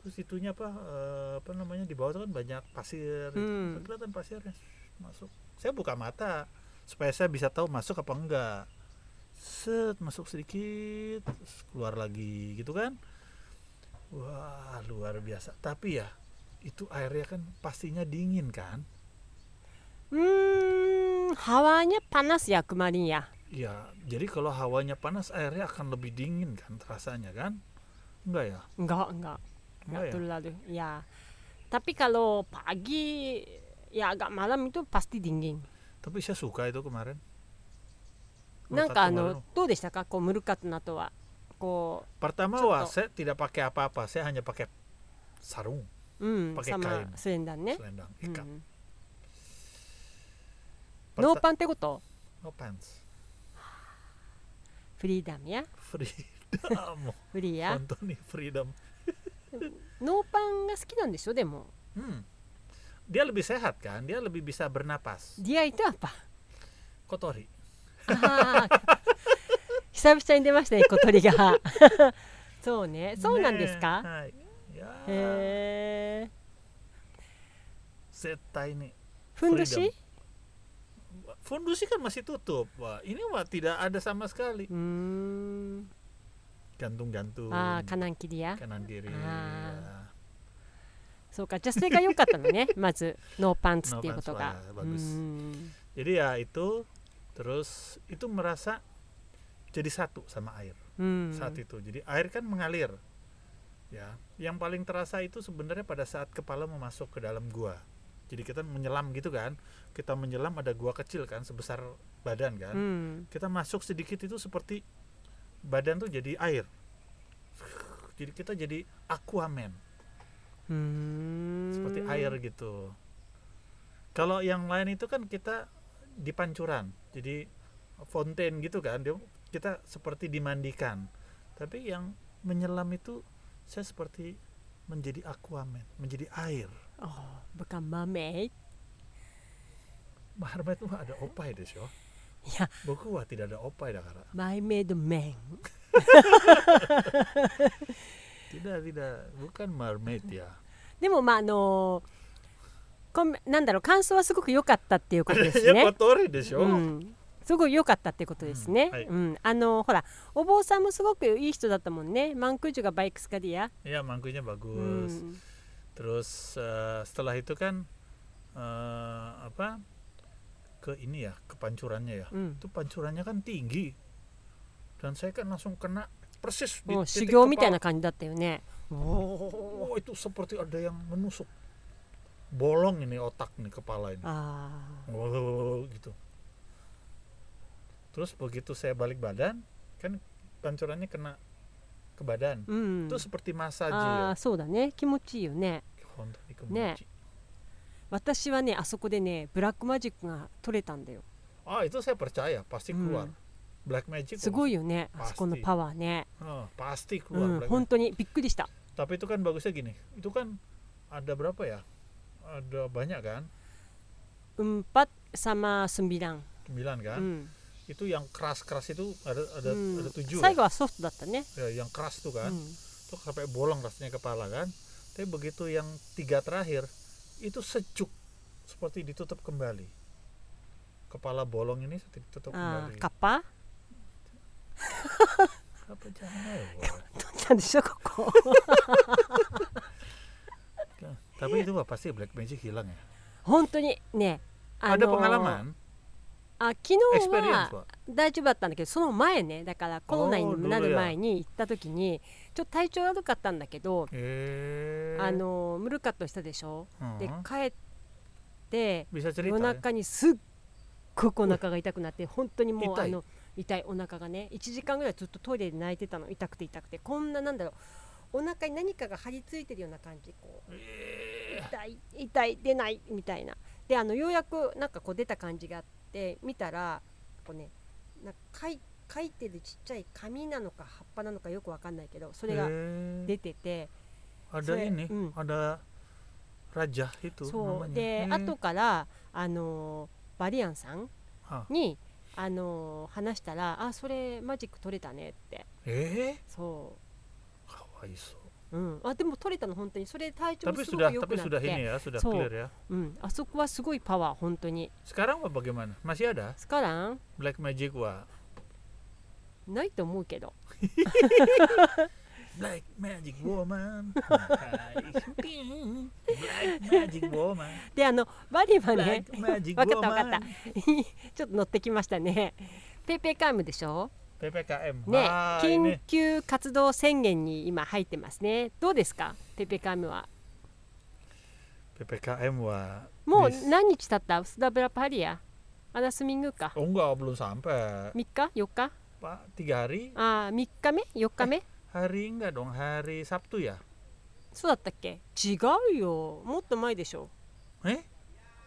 Speaker 2: Terus itunya apa? eh, apa namanya di bawah itu kan banyak pasir.
Speaker 1: Hmm.
Speaker 2: Kan Kelihatan pasirnya masuk. Saya buka mata supaya saya bisa tahu masuk apa enggak. Set masuk sedikit, terus keluar lagi gitu kan. Wah, luar biasa. Tapi ya itu airnya kan pastinya dingin kan?
Speaker 1: Hmm, hawanya panas ya kemarin ya.
Speaker 2: Ya, jadi kalau hawanya panas airnya akan lebih dingin kan rasanya kan? Enggak ya?
Speaker 1: Enggak, enggak.
Speaker 2: Enggak
Speaker 1: Enggak
Speaker 2: ya?
Speaker 1: terlalu. Ya. Tapi kalau pagi ya agak malam itu pasti dingin.
Speaker 2: Tapi saya suka itu kemarin.
Speaker 1: なんかあ
Speaker 2: Murukatu
Speaker 1: の
Speaker 2: kemarin.
Speaker 1: どうでしたかこうムルカットの後はこ
Speaker 2: pertama
Speaker 1: Coto.
Speaker 2: wah saya tidak pakai apa-apa, saya hanya pakai sarung,
Speaker 1: ううん
Speaker 2: パケ
Speaker 1: さま
Speaker 2: カイン
Speaker 1: スウェンダンね、
Speaker 2: selendang
Speaker 1: うん
Speaker 2: ikat.
Speaker 1: ノー
Speaker 2: Perta-
Speaker 1: パンってこと
Speaker 2: no pants.
Speaker 1: フリーダムや
Speaker 2: Freedom.
Speaker 1: フリーや
Speaker 2: Tonton nih freedom.
Speaker 1: ノーパンが好きなんでしょでも
Speaker 2: Hmm. Dia lebih sehat kan? Dia lebih bisa bernapas.
Speaker 1: ディアイとはパン
Speaker 2: Kotori.
Speaker 1: あー久々に出ましたね小鳥が そうねそう
Speaker 2: Nah,
Speaker 1: なんですか、
Speaker 2: ねはいいや
Speaker 1: Eh.
Speaker 2: ー
Speaker 1: へえ
Speaker 2: 絶対に
Speaker 1: ふんどし
Speaker 2: Fundusi kan masih tutup. Wah, ini wah tidak ada sama sekali.
Speaker 1: うーん
Speaker 2: Gantung-gantung.
Speaker 1: ああカナンキリア
Speaker 2: kanan kiri. ya.
Speaker 1: Ah. そうか女性が良かったのねまずノーパンツっていうことがう
Speaker 2: ノーパンツはバグス
Speaker 1: ん
Speaker 2: Jadi ya itu terus itu merasa jadi satu sama air
Speaker 1: うん、
Speaker 2: saat itu. Jadi air kan mengalir. Ya, yang paling terasa itu sebenarnya pada saat kepala mau masuk ke dalam gua. Jadi kita menyelam gitu kan. Kita menyelam ada gua kecil kan sebesar badan kan.
Speaker 1: うん、
Speaker 2: Kita masuk sedikit itu seperti badan tuh jadi air. Jadi kita jadi aquaman.
Speaker 1: うーん
Speaker 2: seperti air gitu. Kalau yang lain itu kan kita di pancuran, jadi fonten gitu kan, dia kita seperti dimandikan. Tapi yang menyelam itu saya seperti menjadi aquaman, menjadi air.
Speaker 1: Oh, bukan mermaid.
Speaker 2: Maharmet itu ada opai deh, yo.
Speaker 1: Ya.
Speaker 2: Boku wah tidak ada opai dah kara.
Speaker 1: Mermaid man.
Speaker 2: Tidak, tidak, bukan mermaid ya.
Speaker 1: でもまああのこんなんだろう感想はすごく良かったっていうことです
Speaker 2: ya
Speaker 1: ね。
Speaker 2: kotori deh,
Speaker 1: う
Speaker 2: yo.
Speaker 1: ん。すごい良かったってことですね。
Speaker 2: うんはい
Speaker 1: うんあのほらお坊さんもすごくいい人だったもんね。マンクージュがバイクスカディア。
Speaker 2: Ya mangkunya
Speaker 1: う
Speaker 2: bagus.
Speaker 1: ん。
Speaker 2: Terus eh, setelah itu kan eh, apa ke ini ya ke pancurannya ya.
Speaker 1: うん。
Speaker 2: Itu pancurannya kan tinggi dan saya kan langsung kena persis di
Speaker 1: もう修
Speaker 2: titik
Speaker 1: 行みたい
Speaker 2: kepala.
Speaker 1: な感じだったよね。
Speaker 2: Wah, itu seperti ada yang menusuk. Bolong ini otak nih kepala ini.
Speaker 1: あ
Speaker 2: Wow, gitu. Terus begitu saya balik badan kan pancurannya kena ke
Speaker 1: あ。
Speaker 2: badan.
Speaker 1: うん。
Speaker 2: Itu seperti
Speaker 1: ああ
Speaker 2: masaje ya.
Speaker 1: そうだね気持ちいいよね。
Speaker 2: Honda ini
Speaker 1: Ah. Nek.
Speaker 2: kemuci.
Speaker 1: 私はねあそこでねブラックマジックが取れたんだよ。
Speaker 2: Ah, itu saya percaya pasti keluar.
Speaker 1: Hmm.
Speaker 2: Black Magic
Speaker 1: す
Speaker 2: kalau
Speaker 1: ごいよねあそこのパワーね。
Speaker 2: Ah, pasti
Speaker 1: う
Speaker 2: keluar
Speaker 1: ん
Speaker 2: Black
Speaker 1: 本
Speaker 2: Magic.
Speaker 1: 当にびっくりした。
Speaker 2: Tapi itu kan bagusnya gini. Itu kan ada berapa ya? Ada banyak kan?
Speaker 1: empat sama sembilan.
Speaker 2: Sembilan kan?
Speaker 1: Hmm.
Speaker 2: Itu yang keras-keras itu ada ada
Speaker 1: Hmm.
Speaker 2: ada tujuh.
Speaker 1: 最後
Speaker 2: ya?
Speaker 1: はソフトだったね。
Speaker 2: Ya, yang keras
Speaker 1: う
Speaker 2: tuh
Speaker 1: ん
Speaker 2: kan. Itu sampai bolong rasanya kepala kan. Tapi begitu yang tiga terakhir itu sejuk seperti ditutup kembali. Kepala bolong ini seperti ditutup
Speaker 1: あー
Speaker 2: kembali.
Speaker 1: カッパ
Speaker 2: Apa jangan ya, Wak?
Speaker 1: 取ったんでしょこ こ。
Speaker 2: Tapi itu Wak, pasti Black Magic hilang ya.
Speaker 1: 本当にね。あ
Speaker 2: ada
Speaker 1: のー
Speaker 2: pengalaman,
Speaker 1: あ昨日
Speaker 2: experience,
Speaker 1: は
Speaker 2: Wak.
Speaker 1: 大丈夫だったんだけどその前ねだからコロナ
Speaker 2: おー
Speaker 1: にな
Speaker 2: どれ
Speaker 1: る
Speaker 2: や
Speaker 1: 前に行った時にちょっと体調悪かったんだけど
Speaker 2: Eh.
Speaker 1: あのームルカットしたでしょ、で
Speaker 2: Mhm.
Speaker 1: 帰って、
Speaker 2: bisa
Speaker 1: 夜
Speaker 2: cerita. ya?
Speaker 1: 中にすっごくお腹が痛くなって本当にもう
Speaker 2: 痛い
Speaker 1: あの痛いお腹がね1時間ぐらいずっとトイレで泣いてたの痛くて痛くてこんななんだろうお腹に何かが張り付いてるような感じこう
Speaker 2: Eh,
Speaker 1: 痛い痛い出ないみたいなであのようやくなんかこう出た感じがあって見たらこうねなんか書い書いてるちっちゃい紙なのか葉っぱなのかよくわかんないけどそれが
Speaker 2: eh,
Speaker 1: 出てて
Speaker 2: ada
Speaker 1: saya-
Speaker 2: ini,
Speaker 1: mm.
Speaker 2: ada raja itu Hmm.
Speaker 1: そう
Speaker 2: namanya.
Speaker 1: で
Speaker 2: Eh,
Speaker 1: 後からあのバリアンさんに、
Speaker 2: ah,
Speaker 1: あの話したら「あそれマジック取れたね」って
Speaker 2: Eh,
Speaker 1: そ
Speaker 2: ka waiso.
Speaker 1: う、うん、あでも取れたの本当にそれ体調も
Speaker 2: Tapi
Speaker 1: すご
Speaker 2: sudah
Speaker 1: く良
Speaker 2: tapi
Speaker 1: くな
Speaker 2: sudah
Speaker 1: っ
Speaker 2: ini
Speaker 1: て、
Speaker 2: ya, sudah
Speaker 1: So.
Speaker 2: clear ya.
Speaker 1: うん、あそこはすごいパワー本当に
Speaker 2: Sekarang apa bagaimana? Masih ada
Speaker 1: スカラン
Speaker 2: Black Magic wa?
Speaker 1: ないと思うけど
Speaker 2: Black Magic Woman. Hai. Black Magic Woman.
Speaker 1: であのバリはね
Speaker 2: Black Magic
Speaker 1: わかったわかった
Speaker 2: Woman.
Speaker 1: ちょっと乗ってきましたねペイペイカームでしょ
Speaker 2: PPKM.
Speaker 1: ね
Speaker 2: Wah,
Speaker 1: 緊
Speaker 2: ini
Speaker 1: 急活動宣言に今入ってますねどうですかペイペイカームは
Speaker 2: PPKM wa.
Speaker 1: もう
Speaker 2: This-
Speaker 1: 何日経ったスダブラパリアアナスミングか
Speaker 2: Oh enggak, belum sampai.
Speaker 1: 3日4日
Speaker 2: Pak, tiga hari?
Speaker 1: あー3日目4日目
Speaker 2: Hari enggak dong, hari Sabtu ya?
Speaker 1: そうだったっけ違うよもっと前でしょ
Speaker 2: Eh?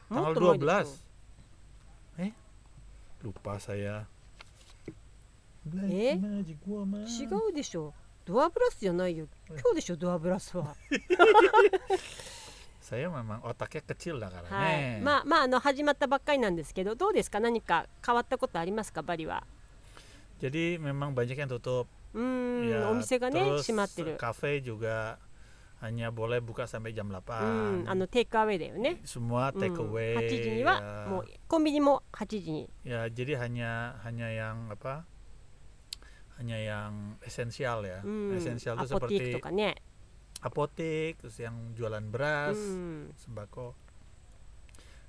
Speaker 1: もっ
Speaker 2: Tanggal
Speaker 1: と前でしょ
Speaker 2: 12. Eh? Lupa saya. Black
Speaker 1: Eh?
Speaker 2: Magic Woman.
Speaker 1: 違うでしょドアブラスじゃないよ今日でしょドアブラスは
Speaker 2: Saya memang otaknya kecil lah
Speaker 1: は
Speaker 2: karena. Eh,
Speaker 1: いまあまああの始まったばっかりなんですけどどうですか何か変わったことありますかバリは
Speaker 2: Jadi memang banyak yang tutup.
Speaker 1: うーん、
Speaker 2: Ya,
Speaker 1: お店がね
Speaker 2: terus
Speaker 1: 閉まってる
Speaker 2: Kafe juga hanya boleh buka sampai jam
Speaker 1: うん
Speaker 2: 8.
Speaker 1: あのテイクアウェイだよね
Speaker 2: Semua
Speaker 1: うん
Speaker 2: take
Speaker 1: 8
Speaker 2: away.
Speaker 1: 時に
Speaker 2: ya.
Speaker 1: はもうコンビニも8時に
Speaker 2: Ya, jadi hanya hanya yang apa? Hanya yang esensial ya.
Speaker 1: うん
Speaker 2: Esensial
Speaker 1: ア
Speaker 2: itu
Speaker 1: ポティー
Speaker 2: seperti
Speaker 1: クとかね
Speaker 2: apotek, terus yang jualan
Speaker 1: う
Speaker 2: beras,
Speaker 1: ん
Speaker 2: sembako.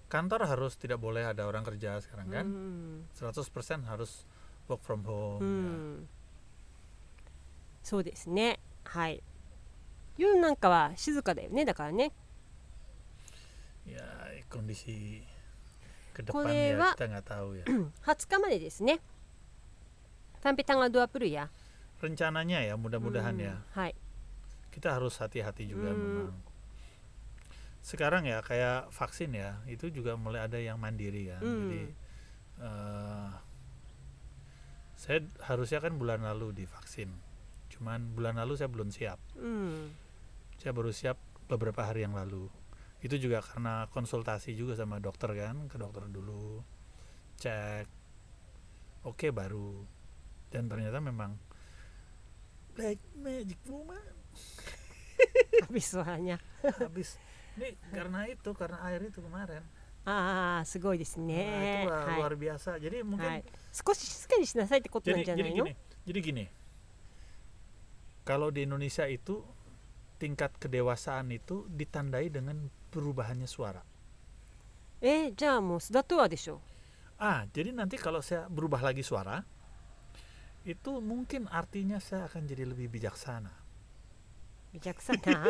Speaker 2: Kantor harus tidak boleh ada orang kerja
Speaker 1: う
Speaker 2: sekarang kan?
Speaker 1: ん
Speaker 2: 100% harus work
Speaker 1: う
Speaker 2: from home. ya.
Speaker 1: んそうですねはい夜なんかは静かだよねだからね
Speaker 2: Ya, ya kondisi ke depan
Speaker 1: Kolewa-
Speaker 2: ya kita nggak tahu ya.
Speaker 1: 20日までですねタンペタンガドアプルや
Speaker 2: Rencananya ya mudah-mudahan ya.
Speaker 1: はい
Speaker 2: Kita harus hati-hati juga
Speaker 1: Hmm.
Speaker 2: memang. Sekarang ya kayak vaksin ya, itu juga mulai ada yang mandiri kan.
Speaker 1: Hmm.
Speaker 2: Jadi eh, saya harusnya kan bulan lalu divaksin. Cuman bulan lalu saya belum siap.
Speaker 1: うん、
Speaker 2: saya baru siap beberapa hari yang lalu itu juga karena konsultasi juga sama dokter kan ke dokter dulu cek oke baru dan ternyata memang black magic woman
Speaker 1: habis suaranya
Speaker 2: habis ini karena itu karena air itu kemarin
Speaker 1: ああすごいです
Speaker 2: Nah, itu
Speaker 1: ね
Speaker 2: luar,
Speaker 1: は
Speaker 2: luar biasa
Speaker 1: い、は
Speaker 2: jadi mungkin
Speaker 1: い、少し静かにしなさいってことな
Speaker 2: jadi
Speaker 1: んじゃ
Speaker 2: jadi
Speaker 1: ないの
Speaker 2: gini jadi gini kalau di Indonesia itu tingkat kedewasaan itu ditandai dengan perubahannya suara
Speaker 1: えーじゃあもう須田とはでしょ
Speaker 2: Ah, jadi nanti kalau saya berubah lagi suara, itu mungkin artinya saya akan jadi lebih bijaksana.
Speaker 1: 微弱さ な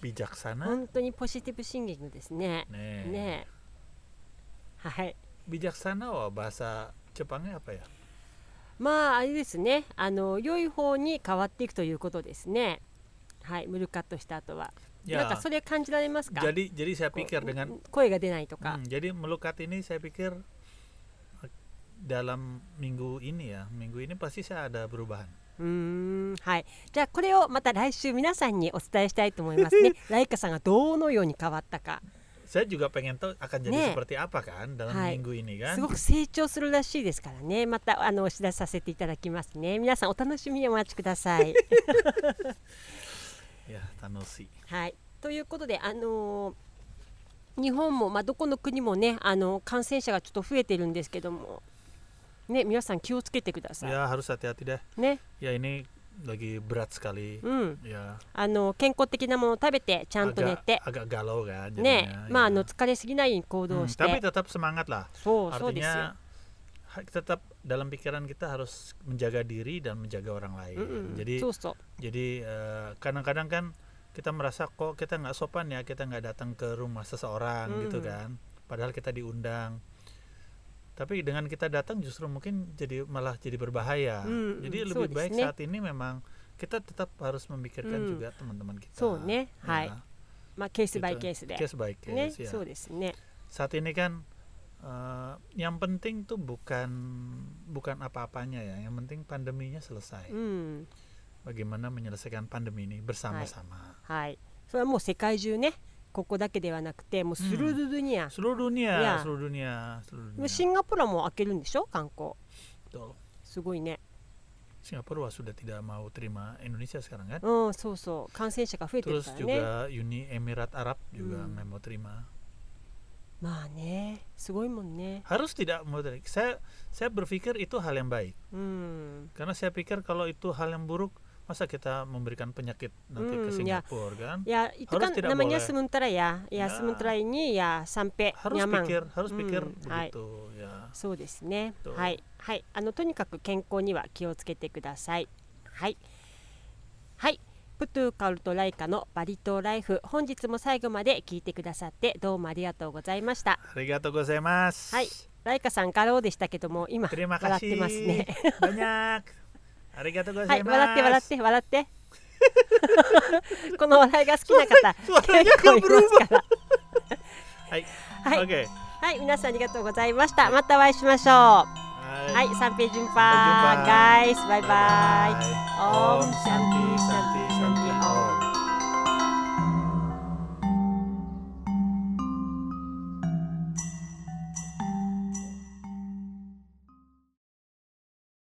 Speaker 2: Bijaksana,
Speaker 1: 本当にポジティブシンギングですね
Speaker 2: nih.
Speaker 1: ねえはい
Speaker 2: Bijaksana, wah bahasa Jepangnya apa ya?
Speaker 1: まああれですねあの良い方に変わっていくということですねはいムルカットした後は、
Speaker 2: Ya.
Speaker 1: なんかそれ感じられますか
Speaker 2: Jadi, jadi saya
Speaker 1: こう
Speaker 2: pikir dengan
Speaker 1: 声が出ないとか、
Speaker 2: Hmm, jadi melukat ini saya pikir eh, dalam minggu ini ya, minggu ini pasti saya ada perubahan.
Speaker 1: うーんはい、じゃあこれをまた来週皆さんにお伝えしたいと思います ね。ライカさんがどのように変わったか、
Speaker 2: Saya juga pengen tahu akan jadi
Speaker 1: Nih.
Speaker 2: seperti apa kan dalam
Speaker 1: Hai.
Speaker 2: minggu ini kan.
Speaker 1: すごく成長するらしいですからね。またあのお知らせさせていただきますね。皆さんお楽しみにお待ちください。
Speaker 2: Ya, Tanosi.
Speaker 1: はい、ということで、あのー日本も、まあ、どこの国もね、あの感染者がちょっと増えてるんですけども、ね、皆さん気をつけてくださ
Speaker 2: Ya harus hati-hati deh.
Speaker 1: い。ね、
Speaker 2: Ya ini lagi berat sekali.
Speaker 1: うん、
Speaker 2: Ya.
Speaker 1: あの健康的なものを食べてちゃんと寝
Speaker 2: agak,
Speaker 1: て、
Speaker 2: agak galau kan
Speaker 1: ね
Speaker 2: jadinya,、
Speaker 1: まああ
Speaker 2: ya.
Speaker 1: の疲れすぎないように行
Speaker 2: Hmm,
Speaker 1: 動して、
Speaker 2: tapi tetap semangat lah
Speaker 1: そうそうですよ。
Speaker 2: artinya
Speaker 1: ya.
Speaker 2: ha- tetap dalam pikiran kita harus menjaga diri dan menjaga orang lain
Speaker 1: うんうん、
Speaker 2: jadi
Speaker 1: そうそう。
Speaker 2: jadi eh, kadang-kadang kan kita merasa kok kita nggak sopan ya kita nggak datang ke rumah seseorang gitu
Speaker 1: Mm.
Speaker 2: kan padahal kita diundang tapi dengan kita datang justru mungkin jadi malah jadi berbahaya
Speaker 1: Mm,
Speaker 2: jadi
Speaker 1: mm, so
Speaker 2: lebih
Speaker 1: desu
Speaker 2: baik
Speaker 1: ne.
Speaker 2: saat ini memang kita tetap harus
Speaker 1: Mm.
Speaker 2: memikirkan juga teman-teman kita
Speaker 1: So ne,
Speaker 2: Ya.
Speaker 1: hai. まあ、ケースバイ
Speaker 2: Gitu.
Speaker 1: ケースで。
Speaker 2: Case by case,
Speaker 1: ね、
Speaker 2: ya.
Speaker 1: そうですね。
Speaker 2: Saat ini kan eh, yang penting tuh bukan bukan apa-apanya ya, yang penting pandeminya
Speaker 1: う
Speaker 2: selesai.
Speaker 1: ん、
Speaker 2: Bagaimana menyelesaikan pandemi ini bersama-sama.
Speaker 1: はい。それはもう世界中ね、ここだけではなくてもうスルルルニア、
Speaker 2: seluruh dunia
Speaker 1: Ya.
Speaker 2: seluruh dunia seluruh
Speaker 1: もう
Speaker 2: dunia
Speaker 1: シンガポールはもう開けるんでしょ観光
Speaker 2: Betul.
Speaker 1: すごいね
Speaker 2: Singapura sudah tidak mau terima Indonesia sekarang kan
Speaker 1: うんそうそう感染者が増えてる
Speaker 2: terus
Speaker 1: からね
Speaker 2: juga Uni Emirat Arab juga
Speaker 1: gitu kan? Iya. Hmm.
Speaker 2: nggak mau terima
Speaker 1: まあねすごいもんね
Speaker 2: harus tidak mau terima saya saya berpikir itu hal yang baik
Speaker 1: うん、
Speaker 2: karena saya pikir kalau itu hal yang buruk masa kita memberikan penyakit nanti ke
Speaker 1: Hmm, ya.
Speaker 2: Singapura kan
Speaker 1: ya itu
Speaker 2: Harus
Speaker 1: kan
Speaker 2: tidak
Speaker 1: namanya
Speaker 2: boleh.
Speaker 1: sementara ya ya
Speaker 2: Ya.
Speaker 1: sementara ini ya sampai
Speaker 2: harus
Speaker 1: nyaman
Speaker 2: pikir harus
Speaker 1: Hmm,
Speaker 2: pikir
Speaker 1: hai.
Speaker 2: begitu ya
Speaker 1: そうですね
Speaker 2: どう
Speaker 1: はいはいあのとにかく健康には気をつけてくださいはいはいプトゥーカルトライカのバリ島ライフ本日も最後まで聞いてくださってどうもありがとうございました
Speaker 2: arigatou gozaimasu
Speaker 1: はいライカさんガローでしたけども 今
Speaker 2: terima
Speaker 1: 笑ってます
Speaker 2: kasih
Speaker 1: ね
Speaker 2: banyak arigatou
Speaker 1: はい
Speaker 2: gozaimasu
Speaker 1: 笑って笑って笑って この笑いが好きな方
Speaker 2: suaranya
Speaker 1: 結
Speaker 2: nggak
Speaker 1: 構いま
Speaker 2: berubah
Speaker 1: すから
Speaker 2: Hai.
Speaker 1: はい、
Speaker 2: oke
Speaker 1: はい、皆さんありがとうございました。またお会いしましょう。は
Speaker 2: Hai.
Speaker 1: い、三平順
Speaker 2: 三平
Speaker 1: パー、
Speaker 2: 順パ
Speaker 1: ガイズ、バイバイ。
Speaker 2: Om Santi Santi Santi Om